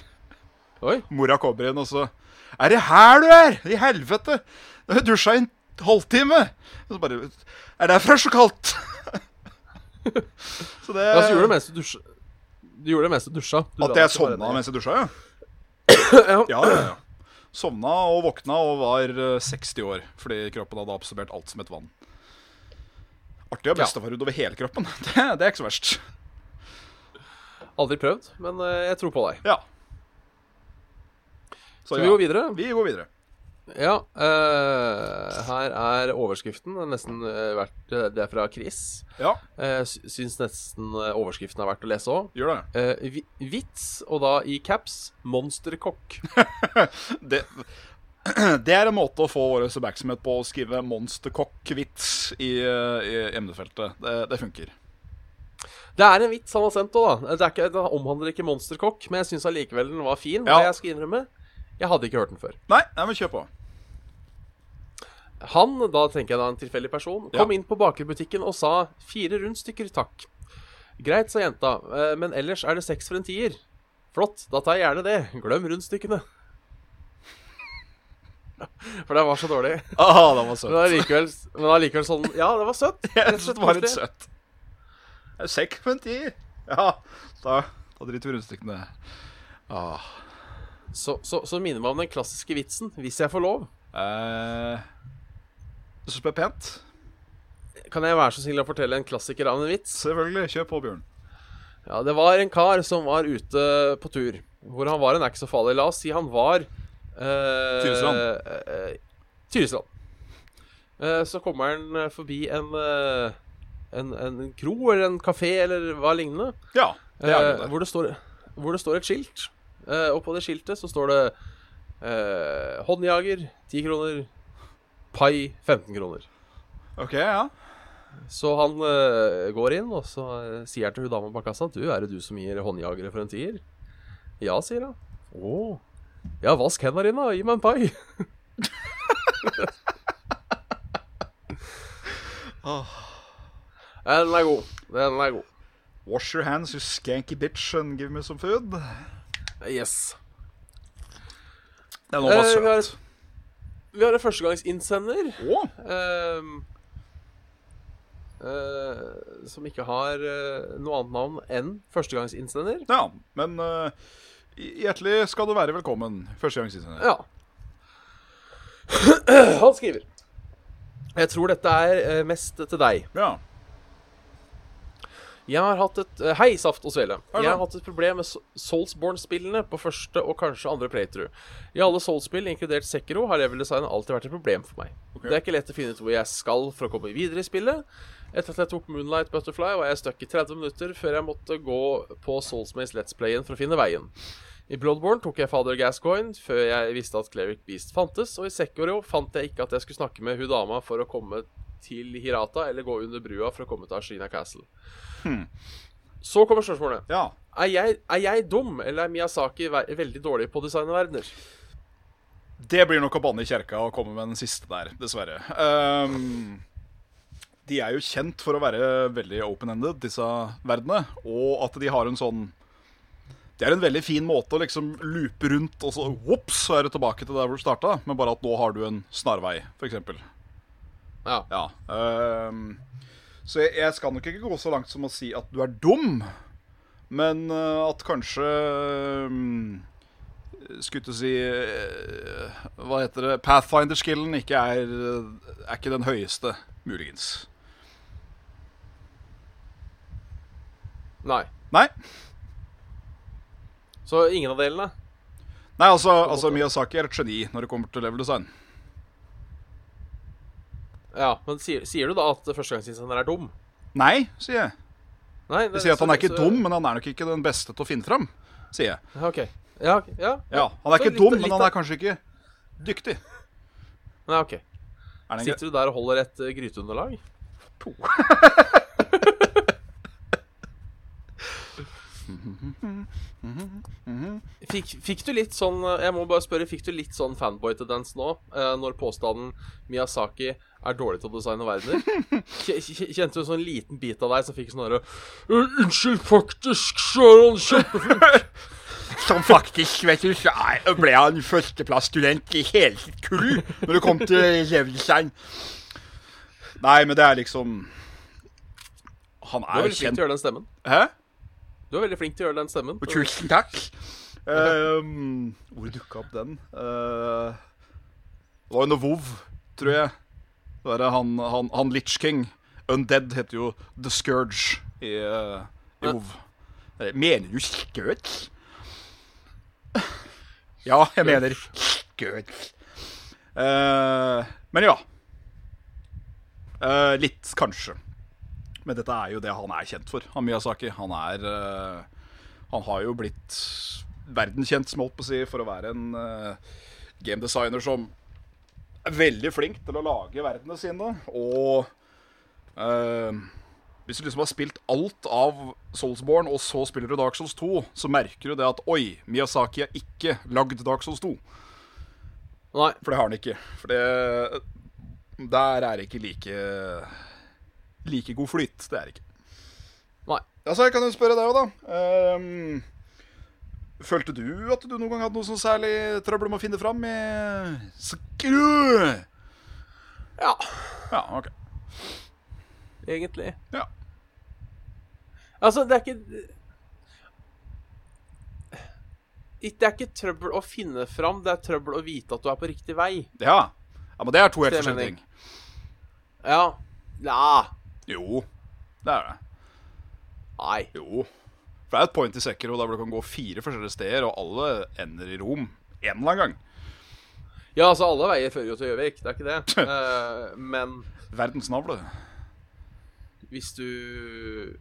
Speaker 2: Oi.
Speaker 3: Mora kommer inn, og så Er det her du er? I helvete! Du har dusja i en halvtime! Og så bare Er det derfor det er så kaldt? så det
Speaker 2: Ja, så gjorde du det mens du dusja. Du gjorde det mens du dusja. Du
Speaker 3: At
Speaker 2: la
Speaker 3: jeg sånn,
Speaker 2: deg bare
Speaker 3: sovna
Speaker 2: ned.
Speaker 3: mens jeg dusja, ja.
Speaker 2: ja.
Speaker 3: Ja, ja, ja. Sovna og våkna og var eh, 60 år fordi kroppen hadde absorbert alt som et vann. Artig å ha
Speaker 2: Ja.
Speaker 3: bestefar utover hele kroppen. Det, det er ikke så verst.
Speaker 2: Aldri prøvd, men eh, jeg tror på deg.
Speaker 3: Ja. Så,
Speaker 2: Skal
Speaker 3: ja.
Speaker 2: vi gå videre?
Speaker 3: Vi går videre.
Speaker 2: Ja. eh, her er overskriften. Det er Nesten eh, verdt Det er fra Chris.
Speaker 3: Ja,
Speaker 2: Eh, sy- syns nesten eh, overskriften er verdt å lese òg.
Speaker 3: gjør det.
Speaker 2: Eh, vi- vits, og da i caps, monsterkokk.
Speaker 3: det. Det er en måte å få vår oppmerksomhet på å skrive monsterkokk-vits i, eh, i emnefeltet. Det, det funker.
Speaker 2: Det er en vits han har sendt òg, da. Det, er ikke, den omhandler ikke monsterkokk, men jeg syns allikevel den var fin.
Speaker 3: Ja.
Speaker 2: Og jeg skal innrømme, jeg hadde ikke hørt den før.
Speaker 3: Nei, nei men kjør på.
Speaker 2: Han, da tenker jeg da en tilfeldig person,
Speaker 3: Ja.
Speaker 2: kom inn på bakerbutikken og sa fire rundstykker, takk. Greit, sa jenta, eh, men ellers er det seks for en tier. Flott, da tar jeg gjerne det. Glem rundstykkene. For det var så dårlig.
Speaker 3: Ah, det var
Speaker 2: Men
Speaker 3: søtt.
Speaker 2: allikevel, men allikevel sånn Ja, det var søtt.
Speaker 3: Jeg
Speaker 2: Rett og
Speaker 3: synes
Speaker 2: slett
Speaker 3: det var litt
Speaker 2: koselig.
Speaker 3: søtt. Det er Sekk på en tier. Ja, da, da driter vi rundstykkene. Ah.
Speaker 2: Så, så, så minner meg om den klassiske vitsen, hvis jeg får lov.
Speaker 3: Eh, jeg synes det ble pent.
Speaker 2: Kan jeg være så snill å fortelle en klassiker av en vits?
Speaker 3: Selvfølgelig. Kjør på, Bjørn.
Speaker 2: Ja, Det var en kar som var ute på tur. Hvor han var en er ikke så farlig. La oss si han var eh,
Speaker 3: Tyresland.
Speaker 2: eh, Tyresland. Eh, så kommer han eh, forbi en, eh, en, en kro eller en kafé eller hva lignende.
Speaker 3: Ja, det er
Speaker 2: Eh,
Speaker 3: det.
Speaker 2: hvor, det står, hvor det står et skilt. Eh, og på det skiltet så står det eh, 'Håndjager 10 kroner', 'Pai 15 kroner'.
Speaker 3: OK, ja.
Speaker 2: Så han eh, går inn, og så eh, sier han til hun dama bak kassa 'Du, er det du som gir håndjagere for en tier?' 'Ja', sier han. 'Å. Ja, vask hendene dine, og gi meg en pai'. Ah. Den er god. Den er god.
Speaker 3: Wash your hands, you skanky bitch, and give me some food.
Speaker 2: Yes.
Speaker 3: Den var
Speaker 2: Eh, vi har-
Speaker 3: søt.
Speaker 2: Vi har en førstegangsinnsender.
Speaker 3: Å,
Speaker 2: Ehm, eh, som ikke har eh, noe annet navn enn førstegangsinnsender.
Speaker 3: ja, men eh, hjertelig skal du være velkommen. Første gang siden.
Speaker 2: Ja. Han skriver Jeg tror dette er eh, mest til deg.
Speaker 3: Ja.
Speaker 2: Jeg har hatt et eh, Hei, Saft og Svele.
Speaker 3: Hei,
Speaker 2: Jeg har
Speaker 3: da.
Speaker 2: hatt et problem med Soulsborne-spillene på første og kanskje andre playthrough. I alle Souls-spill, inkludert Sekiro, har leveldesignet alltid vært et problem for meg.
Speaker 3: Ok.
Speaker 2: Det er ikke lett å finne ut hvor jeg skal for å komme videre i spillet. Etter at jeg tok Moonlight Butterfly, var jeg stuck i 30 minutter før jeg måtte gå på Soulsmaze Let's Play-en for å finne veien. I Bloodborne tok jeg Father Gascoigne før jeg visste at Cleric Beast fantes, og i Sekiro fant jeg ikke at jeg skulle snakke med hun dama for å komme til Hirata, eller gå under brua for å komme til Ashina Castle.
Speaker 3: Hmm.
Speaker 2: Så kommer spørsmålet.
Speaker 3: ja.
Speaker 2: Er jeg, er jeg dum, eller er Miyazaki ve veldig dårlig på å designe verdener?
Speaker 3: Det blir nok å banne i kjerka og komme med den siste der, dessverre. Ehm, de er jo kjent for å være veldig open-ended, disse verdene. Og at de har en sånn Det er en veldig fin måte å liksom loope rundt, og så whoops, så er du tilbake til der hvor du starta. Men bare at nå har du en snarvei, f.eks.
Speaker 2: Ja.
Speaker 3: Ja. ehm, så jeg, jeg skal nok ikke gå så langt som å si at du er dum, men eh, at kanskje um, Skulle til å si eh, Hva heter det? Pathfinder-skillen ikke er, er ikke den høyeste, muligens.
Speaker 2: Nei.
Speaker 3: Nei.
Speaker 2: Så ingen av delene?
Speaker 3: Nei, altså, altså Miyazaki er et geni når det kommer til level design.
Speaker 2: Ja, men sier, sier du da at førstegangsinnsender er dum?
Speaker 3: Nei, sier jeg.
Speaker 2: Nei, det,
Speaker 3: Jeg sier at han er
Speaker 2: så-
Speaker 3: ikke
Speaker 2: så-
Speaker 3: dum, men han er nok ikke den beste til å finne fram, sier jeg.
Speaker 2: Ja, OK. Ja, ok, ja.
Speaker 3: Ja, Han er
Speaker 2: Så
Speaker 3: ikke
Speaker 2: litt-
Speaker 3: dum,
Speaker 2: litt
Speaker 3: men han
Speaker 2: av-
Speaker 3: er kanskje ikke dyktig.
Speaker 2: Nei, ok.
Speaker 3: Er det en
Speaker 2: Sitter du der og holder et eh, gryteunderlag? Fikk, fikk du litt sånn eh, Jeg må bare spørre, fikk du litt sånn fanboy-tendens nå, eh, når påstanden Miyazaki er dårlig til å designe verdener? Kje- kje- Kjente du en sånn liten bit av deg som fikk sånn herre Unnskyld, faktisk, så er han kjempeflink.
Speaker 3: Som faktisk, vet du, så er- ble han førsteplassstudent i hele sitt kull når det kom til leveldesign. Nei, men det er liksom Han
Speaker 2: Du
Speaker 3: er
Speaker 2: er
Speaker 3: jo
Speaker 2: veldig flink
Speaker 3: kjent
Speaker 2: til å gjøre den stemmen.
Speaker 3: Hæ?
Speaker 2: Du er veldig flink til å gjøre den stemmen.
Speaker 3: Og tusen takk. Ehm, hvor dukka opp den? Eh, det var jo noe vov, tror jeg. Det var han, han, han Litch King. Undead heter jo The Scourge i, eh, i
Speaker 2: Ja.
Speaker 3: vov. Eh, Mener du Scourge? ja, jeg mener Scourge. Eh, men ja. Eh, litt, kanskje. Men dette er jo det han er kjent for, han Miyazaki. Han er eh, han har jo blitt verdenskjent, som jeg holdt på å si, for å være en eh, gamedesigner som er veldig flink til å lage verdenene sine. Og eh, hvis du liksom har spilt alt av Soulsborne, og så spiller du Dark Souls 2, så merker du det at oi, Miyazaki har ikke lagd Dark Souls 2.
Speaker 2: Nei.
Speaker 3: For det har han ikke. For det Der er det ikke like like god flyt. Det er det ikke.
Speaker 2: Nei.
Speaker 3: Altså, jeg kan jo spørre deg òg, da. Ehm, følte du at du noen gang hadde noe sånn særlig trøbbel med å finne fram i Skru!
Speaker 2: Ja,
Speaker 3: Ja, OK.
Speaker 2: egentlig.
Speaker 3: Ja.
Speaker 2: Altså, det er ikke It- Det er ikke trøbbel å finne fram, det er trøbbel å vite at du er på riktig vei.
Speaker 3: ja. ja men det er to helt
Speaker 2: Det mener
Speaker 3: forskjellige
Speaker 2: jeg.
Speaker 3: ting.
Speaker 2: Ja. Ja.
Speaker 3: Jo, det er det.
Speaker 2: Nei.
Speaker 3: Jo. For det er et point i Sekiro der hvor du kan gå fire forskjellige steder, og alle ender i Rom en eller annen gang.
Speaker 2: Ja, altså, alle veier fører jo til Gjøvik, det er ikke det. Eh, men
Speaker 3: Verdens navle.
Speaker 2: hvis du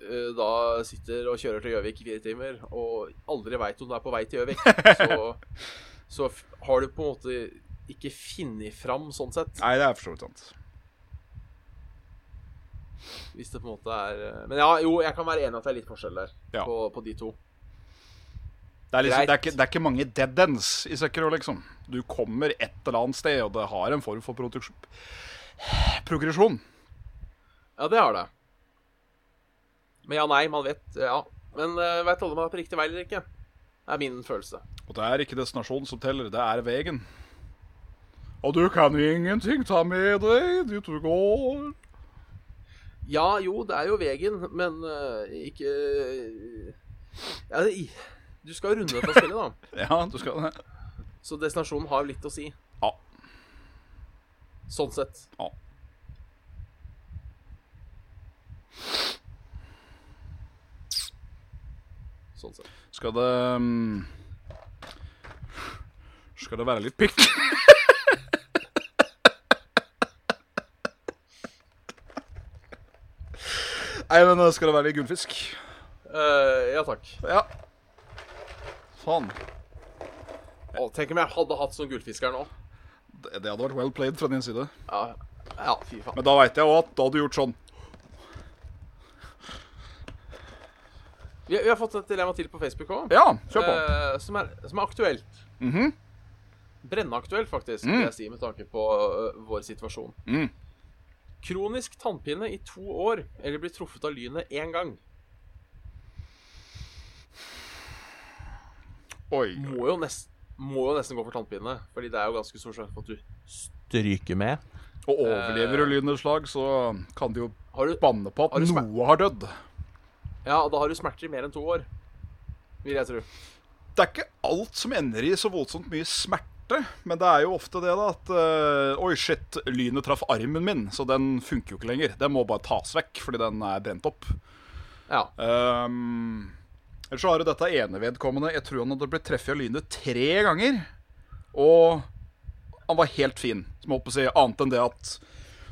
Speaker 2: eh, da sitter og kjører til Gjøvik i fire timer, og aldri veit om du er på vei til Gjøvik, så, så f- har du på en måte ikke funnet fram sånn sett.
Speaker 3: Nei, det er for så vidt sant.
Speaker 2: Hvis det på en måte er eh, Men ja, jo, jeg kan være enig i at det er litt forskjell der
Speaker 3: Ja.
Speaker 2: på, på de to.
Speaker 3: Det er, liksom,
Speaker 2: Greit.
Speaker 3: det, er ikke, det er ikke mange dead ends i Sekiro, liksom. Du kommer et eller annet sted, og det har en form for produksjon. progresjon.
Speaker 2: Ja, det har det. Men ja, nei, man vet Ja. Men uh, veit alle om man er på riktig vei eller ikke? Det er min følelse.
Speaker 3: Og det er ikke destinasjonen som teller, det er veien. Og du kan ingenting ta med deg dit du går.
Speaker 2: Ja, jo, det er jo veien, men eh, ikke eh, ja, det, Du skal jo runde dette spillet, da.
Speaker 3: Ja, du skal det.
Speaker 2: Så destinasjonen har jo litt å si.
Speaker 3: Ja.
Speaker 2: Sånn sett.
Speaker 3: Ja.
Speaker 2: Sånn sett.
Speaker 3: Skal det mm, Skal det være litt pikk? Nei, men uh, skal det være litt gullfisk?
Speaker 2: Eh, ja takk.
Speaker 3: Ja. Faen.
Speaker 2: Å, tenk om jeg hadde hatt sånn gullfisker nå.
Speaker 3: Det, det hadde vært well played fra din side.
Speaker 2: Ja, ja fy faen.
Speaker 3: Men da veit jeg òg at da hadde du gjort sånn.
Speaker 2: Vi, vi har fått et dilemma til på Facebook òg,
Speaker 3: Ja, Eh, kjør på.
Speaker 2: som, er, som er aktuelt.
Speaker 3: Mhm.
Speaker 2: Brennaktuelt, faktisk, vil jeg si, med tanke på eh, vår situasjon.
Speaker 3: Mm.
Speaker 2: Kronisk tannpine i to år, eller bli truffet av lynet én gang.
Speaker 3: Oi.
Speaker 2: Må jo, nest, må jo nesten gå for tannpine, fordi det er jo ganske stor sjanse for at du stryker med.
Speaker 3: Og overlever du lynets slag, så kan de jo
Speaker 2: Har du,
Speaker 3: banne på
Speaker 2: Eh. Har
Speaker 3: at
Speaker 2: du smak-
Speaker 3: noe har dødd.
Speaker 2: ja, da har du smerter i mer enn to år, vil jeg tro.
Speaker 3: det er ikke alt som ender i så voldsomt mye smerte. Men det er jo ofte det, da, at eh, Oi, shit, lynet traff armen min, så den funker jo ikke lenger. Den må bare tas vekk, fordi den er brent opp.
Speaker 2: Ja.
Speaker 3: Eh, Ehm, Ellers så har du dette ene vedkommende. Jeg tror han hadde blitt treffet av lynet tre ganger. Og han var helt fin. Som jeg holdt på å si, Annet enn det at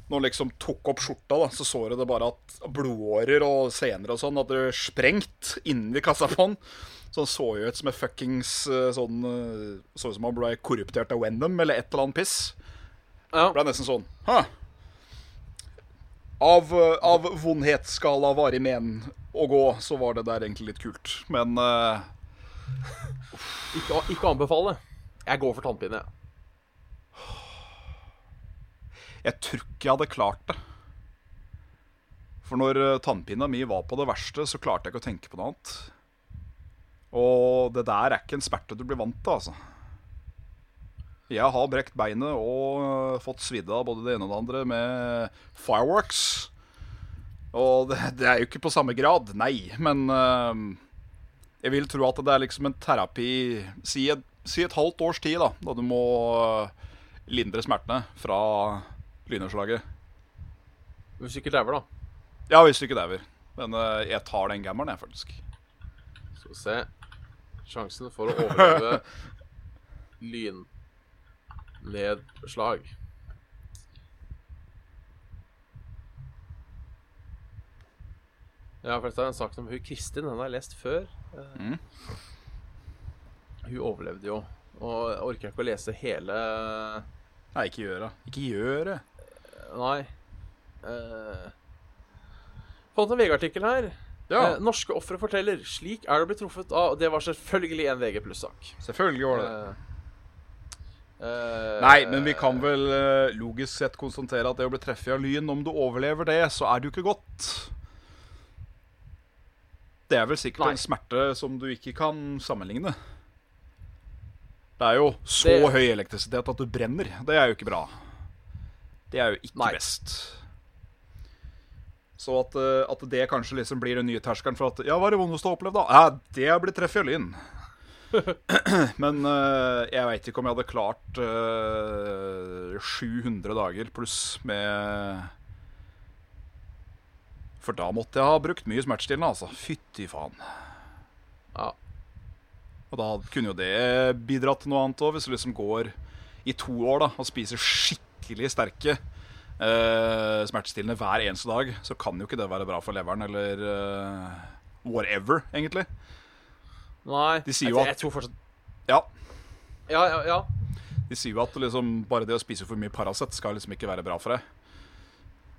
Speaker 3: når han liksom tok opp skjorta, da, så så du det bare at blodårer og sener og sånn hadde sprengt inni kassa på han. Så han så jo ut som en fuckings eh, sånn eh, Så ut som han ble korruptert av Wenham eller et eller annet piss.
Speaker 2: ja.
Speaker 3: Det ble nesten sånn Hæ? Av, eh, av vondhetsskala varig men å gå, så var det der egentlig litt kult. Men eh,
Speaker 2: Ikke, ikke anbefale. Jeg går for tannpine. jeg.
Speaker 3: jeg tror ikke jeg hadde klart det. For når eh, tannpina mi var på det verste, så klarte jeg ikke å tenke på noe annet. Og det der er ikke en smerte du blir vant til, altså. Jeg har brekt beinet og eh, fått svidd av både det ene og det andre med fireworks. Og det, det er jo ikke på samme grad, nei, men eh, jeg vil tro at det er liksom en terapi Si et, si et halvt års tid, da, da du må eh, lindre smertene fra lynnedslaget.
Speaker 2: Hvis du ikke dauer, da.
Speaker 3: Ja, hvis du ikke dauer. Men eh, jeg tar den gammeren, jeg, faktisk.
Speaker 2: Skal vi se Sjansen for å overleve lynnedslag. Ja, for dette er en sak om hun Kristin. Den har jeg lest før. Eh,
Speaker 3: Mm.
Speaker 2: Hun overlevde jo. Og jeg orker ikke å lese hele
Speaker 3: Nei, ikke gjør det. Ikke gjør det.
Speaker 2: Nei. Uh, fant en VG-artikkel her.
Speaker 3: Ja,
Speaker 2: Eh, norske ofre forteller. Slik er det å bli truffet av Og det var selvfølgelig en VG pluss-sak.
Speaker 3: selvfølgelig var det det.
Speaker 2: Eh, eh,
Speaker 3: Nei, men vi kan vel eh, logisk sett konstatere at det å bli treffet av lyn, om du overlever det, så er det jo ikke godt. Det er vel sikkert
Speaker 2: Nei.
Speaker 3: en smerte som du ikke kan sammenligne. Det er jo så
Speaker 2: Det-
Speaker 3: høy elektrisitet at du brenner. Det er jo ikke bra. Det er jo ikke
Speaker 2: Nei.
Speaker 3: best. Så at, eh, at det kanskje liksom blir den nye terskelen for at Ja, hva er det vondeste du har opplevd, da? Ja, det blir treff i oljen. Men eh, jeg veit ikke om jeg hadde klart eh, 700 dager pluss med For da måtte jeg ha brukt mye smertestillende, altså. Fytti faen.
Speaker 2: Ja.
Speaker 3: Og da kunne jo det bidratt til noe annet òg, hvis du liksom går i to år da og spiser skikkelig sterke eh, smertestillende hver eneste dag, så kan jo ikke det være bra for leveren eller eh, whatever, egentlig.
Speaker 2: Nei.
Speaker 3: De sier
Speaker 2: jeg-
Speaker 3: jo at-
Speaker 2: Jeg tror fortsatt
Speaker 3: Ja,
Speaker 2: Ja, ja. ja.
Speaker 3: De sier jo at liksom, bare det å spise for mye Paracet skal liksom ikke være bra for deg.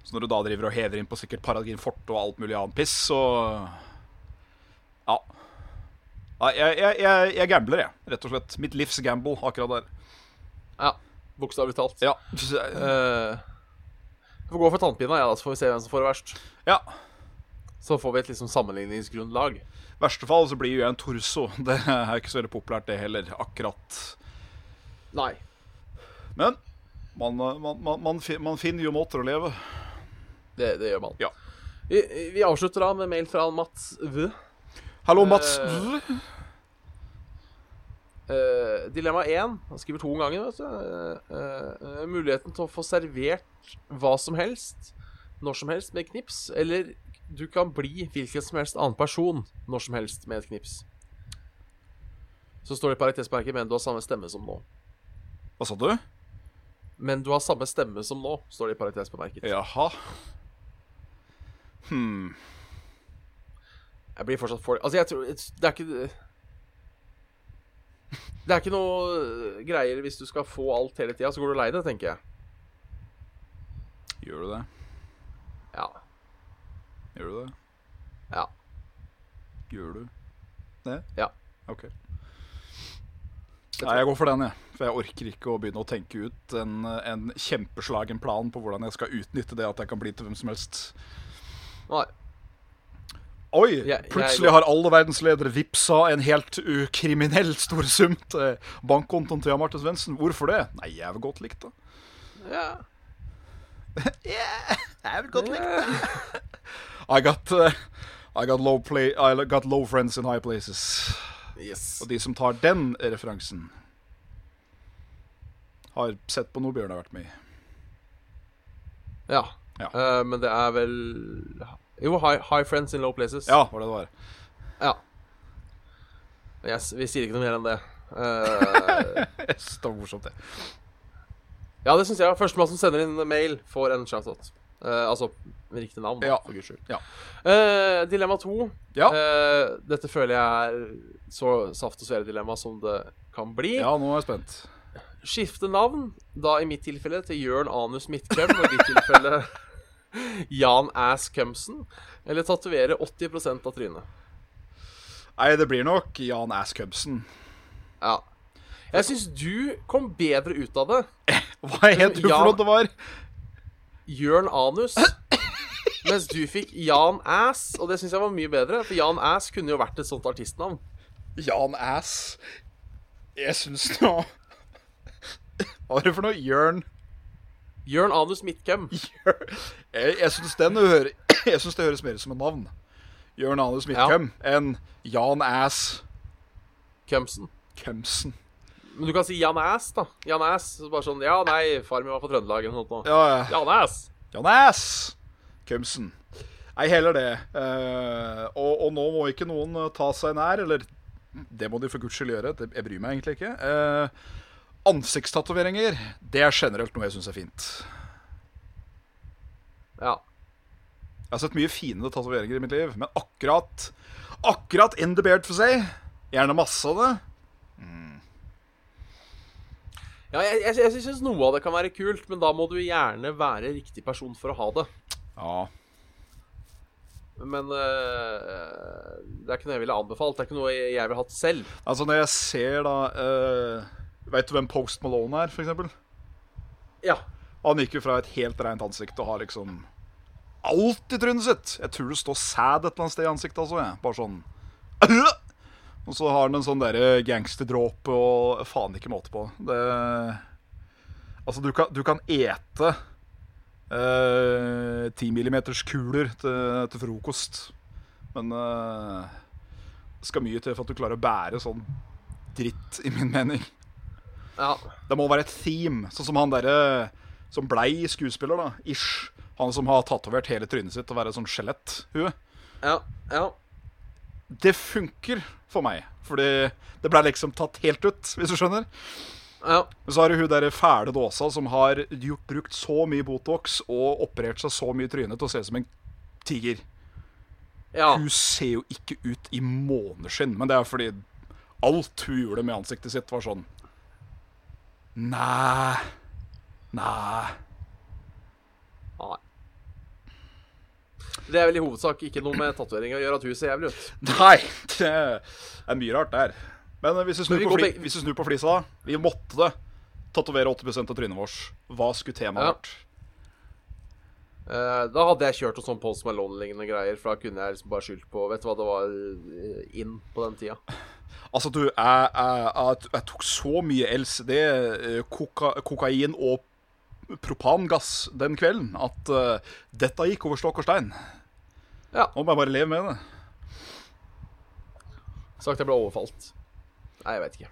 Speaker 3: Så når du da driver og hever inn på sikkert Paragin Forte og alt mulig annet piss, så Ja. Nei, Jeg, jeg, jeg, jeg gambler, jeg. Rett og slett. Mitt livs gamble akkurat der.
Speaker 2: ja. Bokstavelig talt.
Speaker 3: Ja.
Speaker 2: Eh, Vi får gå for tannpina, ja, da, så får vi se hvem som får det verst.
Speaker 3: ja.
Speaker 2: Så får vi et liksom sammenligningsgrunnlag.
Speaker 3: I verste fall så blir jo jeg en torso. Det er ikke så veldig populært, det heller. Akkurat.
Speaker 2: Nei.
Speaker 3: Men man, man, man, man, fin- man finner jo måter å leve.
Speaker 2: Det, det gjør man.
Speaker 3: Ja.
Speaker 2: Vi, vi avslutter da med mail fra Mats V.
Speaker 3: Hallo, Mats.
Speaker 2: Eh, Eh, dilemma 1 Han skriver to ganger, vet du. Eh, eh, muligheten til å få servert hva som helst, når som helst, med knips. Eller du kan bli hvilken som helst annen person når som helst med et knips. Så står det i parentesmerket, men du har samme stemme som nå.
Speaker 3: Hva sa du?
Speaker 2: Men du har samme stemme som nå, står det i parentesmerket.
Speaker 3: Jaha. Hm.
Speaker 2: Jeg blir fortsatt for Altså, jeg tror Det er ikke det er ikke noe eh, greier hvis du skal få alt hele tida, så går du lei deg, tenker jeg.
Speaker 3: Gjør du det?
Speaker 2: Ja.
Speaker 3: Gjør du det?
Speaker 2: Ja.
Speaker 3: Gjør du det?
Speaker 2: Ja.
Speaker 3: Ok. Nei, jeg går for den, jeg. For jeg orker ikke å begynne å tenke ut en, en kjempeslagen plan på hvordan jeg skal utnytte det at jeg kan bli til hvem som helst.
Speaker 2: Nei.
Speaker 3: Oi!
Speaker 2: Jeg- jeg
Speaker 3: plutselig
Speaker 2: går-
Speaker 3: har alle verdensledere vippsa en helt ukriminell stor sum til bankkontoen til Jan Martin Svendsen. Hvorfor det? Nei, jeg er vel godt likt, da.
Speaker 2: Ja.
Speaker 3: Jeg er vel godt likt, I got, uh, I, got low play, I got low friends in high places.
Speaker 2: Yes.
Speaker 3: Og de som tar den referansen, har sett på noe Bjørn har vært med i.
Speaker 2: Ja.
Speaker 3: Ja.
Speaker 2: Eh, men det er vel Jo, high, high friends in low places.
Speaker 3: Ja, var det det var.
Speaker 2: Ja. Yes, vi sier ikke noe mer enn det. Eh,
Speaker 3: Det var morsomt, det.
Speaker 2: ja, det syns jeg. Førstemann som sender inn mail, får en shoutout. Eh, altså med riktig navn, da,
Speaker 3: Ja.
Speaker 2: for guds skyld.
Speaker 3: Ja.
Speaker 2: Eh, dilemma to.
Speaker 3: Ja.
Speaker 2: Eh, dette føler jeg er så saft og svele-dilemma som det kan bli.
Speaker 3: ja, nå er jeg spent.
Speaker 2: Skifte navn, da i mitt tilfelle til Jørn Anus Midtkem, og i ditt tilfelle Jan Ass Kømsen, eller tatovere 80 av trynet.
Speaker 3: Nei, det blir nok Jan Ass Cubsen.
Speaker 2: Ja. Jeg syns du kom bedre ut av det.
Speaker 3: Hva het du
Speaker 2: Ja.
Speaker 3: for noe det var?
Speaker 2: Jørn Anus. Mens du fikk Jan Ass, og det syns jeg var mye bedre. For Jan Ass kunne jo vært et sånt artistnavn.
Speaker 3: Jan Ass. Jeg syns nå Hva er det for noe? Jørn
Speaker 2: Jørn Anus Midtkem.
Speaker 3: Jørn- Jeg, jeg syns den hører Jeg synes det høres mer ut som et navn. Jørn Anus Midtkem enn Jan Ass
Speaker 2: Kømsen.
Speaker 3: Cumsen.
Speaker 2: Men du kan si Jan Ass, da. Jan Ass. Så bare sånn Ja, nei, far min var fra Trøndelag eller noe sånt. nå.
Speaker 3: Ja, ja.
Speaker 2: Jan Ass.
Speaker 3: Jan Ass Cumsen. Nei, heller det. Eh, og, og nå må ikke noen eh, ta seg nær, eller det må de for guds skyld gjøre, det, jeg bryr meg egentlig ikke. Eh, ansiktstatoveringer, det er generelt noe jeg syns er fint.
Speaker 2: Ja.
Speaker 3: Jeg har sett mye finere tatoveringer i mitt liv, men akkurat Akkurat in the beard for seg. Gjerne masse av det.
Speaker 2: Ja, jeg, jeg, jeg syns noe av det kan være kult, men da må du gjerne være riktig person for å ha det.
Speaker 3: Ja.
Speaker 2: Men øh, det er ikke noe jeg ville anbefalt. Det er ikke noe jeg, jeg ville hatt selv.
Speaker 3: Altså, når jeg ser da uh, Veit du hvem Post Malone er, for eksempel?
Speaker 2: Ja.
Speaker 3: Han gikk jo fra et helt rent ansikt og har liksom alt i trynet sitt. Jeg tror det står sæd et eller annet sted i ansiktet. Altså, jeg. Bare sånn Og så har han en sånn derre gangsterdråpe og faen ikke måte på. Det Altså, du kan, du kan ete eh, ti millimeters kuler til, til frokost, men eh, det skal mye til for at du klarer å bære sånn dritt, i min mening.
Speaker 2: Ja.
Speaker 3: Det må være et theme, sånn som han derre som blei skuespiller, da. Ish. Han som har tatovert hele trynet sitt og være sånn skjeletthue.
Speaker 2: Ja. ja.
Speaker 3: Det funker for meg, fordi det blei liksom tatt helt ut, hvis du skjønner.
Speaker 2: ja.
Speaker 3: Men så har du hun derre fæle dåsa som har gjort, brukt så mye Botox og operert seg så mye i trynet til å se ut som en tiger.
Speaker 2: ja.
Speaker 3: Hun ser jo ikke ut i måneskinn, men det er fordi alt hun gjorde med ansiktet sitt, var sånn Nei. Nei.
Speaker 2: Nei. Det er vel i hovedsak ikke noe med tatoveringa å gjøre at hun ser jævlig ut.
Speaker 3: Nei, det er mye rart der. Men eh, hvis du snur,
Speaker 2: Men vi
Speaker 3: på,
Speaker 2: går
Speaker 3: fli,
Speaker 2: begge-
Speaker 3: hvis du snur på flisa, da. Vi måtte det. Tatovere 80 av trynet vårt. Hva skulle temaet
Speaker 2: Ja.
Speaker 3: vært?
Speaker 2: Eh, da hadde jeg kjørt noe sånn Post Malone-lignende greier, for da kunne jeg liksom bare skyldt på Vet du hva det var eh, inn på den tida?
Speaker 3: Altså, du, jeg, jeg, jeg, jeg tok så mye LCD, eh, koka, kokain og propangass den kvelden at eh, dette gikk over stokk og stein.
Speaker 2: Ja.
Speaker 3: Nå må jeg bare leve med det.
Speaker 2: Sagt jeg ble overfalt. Nei, jeg vet ikke.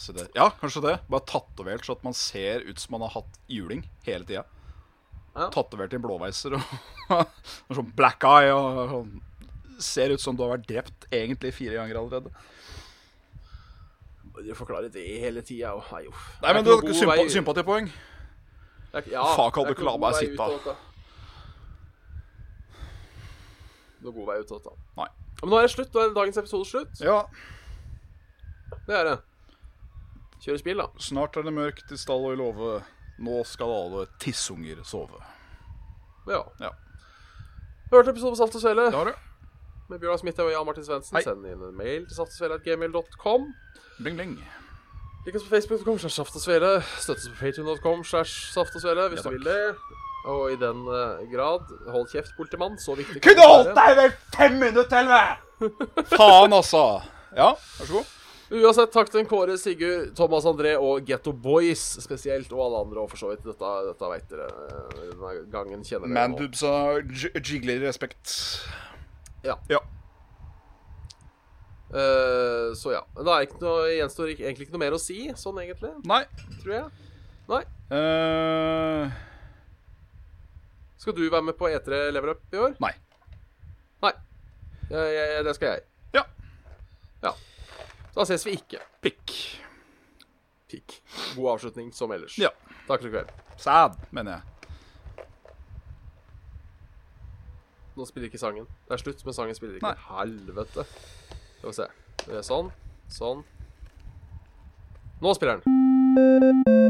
Speaker 3: Så det. Ja, kanskje det. Bare tatovert så at man ser ut som man har hatt juling hele tida.
Speaker 2: Ja.
Speaker 3: Tatovert i blåveiser og og sånn black eye og sånn. Ser ut som du har vært drept egentlig fire ganger allerede.
Speaker 2: Du forklarer det hele tida, og nei, uff.
Speaker 3: Nei, men
Speaker 2: Det
Speaker 3: du
Speaker 2: er
Speaker 3: har ikke
Speaker 2: ikke noe god
Speaker 3: sympa
Speaker 2: vei-
Speaker 3: sympatipoeng.
Speaker 2: Det er- ja,
Speaker 3: Faen, kan
Speaker 2: det er
Speaker 3: du ikke la
Speaker 2: noe
Speaker 3: meg
Speaker 2: god vei
Speaker 3: sitte?
Speaker 2: ut av dette. Noe god vei ut av dette.
Speaker 3: Nei.
Speaker 2: Ja, Men nå er det slutt. Nå er dagens episode slutt.
Speaker 3: Ja,
Speaker 2: Det er det. Kjøres bil, da.
Speaker 3: snart er det mørkt i stall og i låve. Nå skal alle tissunger sove.
Speaker 2: Ja.
Speaker 3: Ja.
Speaker 2: Du har hørt episoden på Salt og Svele
Speaker 3: Det har du.
Speaker 2: med Bjørnar Smithaug og Jan Martin Svendsen.
Speaker 3: Hei.
Speaker 2: Send inn en mail til saltogsvele.gmail.com.
Speaker 3: Bling, bling.
Speaker 2: Lik oss på facebook.com slash saft og svele. Støtt oss på patreon.com slash saft og svele hvis
Speaker 3: Ja,
Speaker 2: du
Speaker 3: takk.
Speaker 2: vil det. Og i den eh, grad, hold kjeft, politimann. Så viktig
Speaker 3: Kunne holdt
Speaker 2: det være.
Speaker 3: deg vel fem minutter til, meg! Faen, altså. Ja, vær så god.
Speaker 2: Uansett, takk til Kåre, Sigurd, Thomas André og Getto Boys spesielt. Og alle andre, og for så vidt. Dette, dette veit dere. eh, Denne gangen kjenner dere nå.
Speaker 3: Mandoobs og j- jigler i respekt.
Speaker 2: Ja.
Speaker 3: Ja.
Speaker 2: Eh, så ja. Da er ikke noe, gjenstår ikke- egentlig ikke noe mer å si, sånn egentlig,
Speaker 3: Nei.
Speaker 2: tror jeg. Nei.
Speaker 3: eh,
Speaker 2: Skal du være med på E3 Lever Up i år?
Speaker 3: nei.
Speaker 2: Nei. Eh, Jeg, jeg, jeg- det skal jeg.
Speaker 3: Ja.
Speaker 2: Ja. Så da ses vi ikke.
Speaker 3: Pikk.
Speaker 2: Pikk. God avslutning som ellers.
Speaker 3: Ja.
Speaker 2: Takk for i kveld.
Speaker 3: Sæd, mener jeg.
Speaker 2: Nå spiller ikke sangen. Det er slutt, men sangen spiller ikke.
Speaker 3: Nei.
Speaker 2: Helvete. Skal vi se. Det er Sånn. Sånn. Nå spiller den.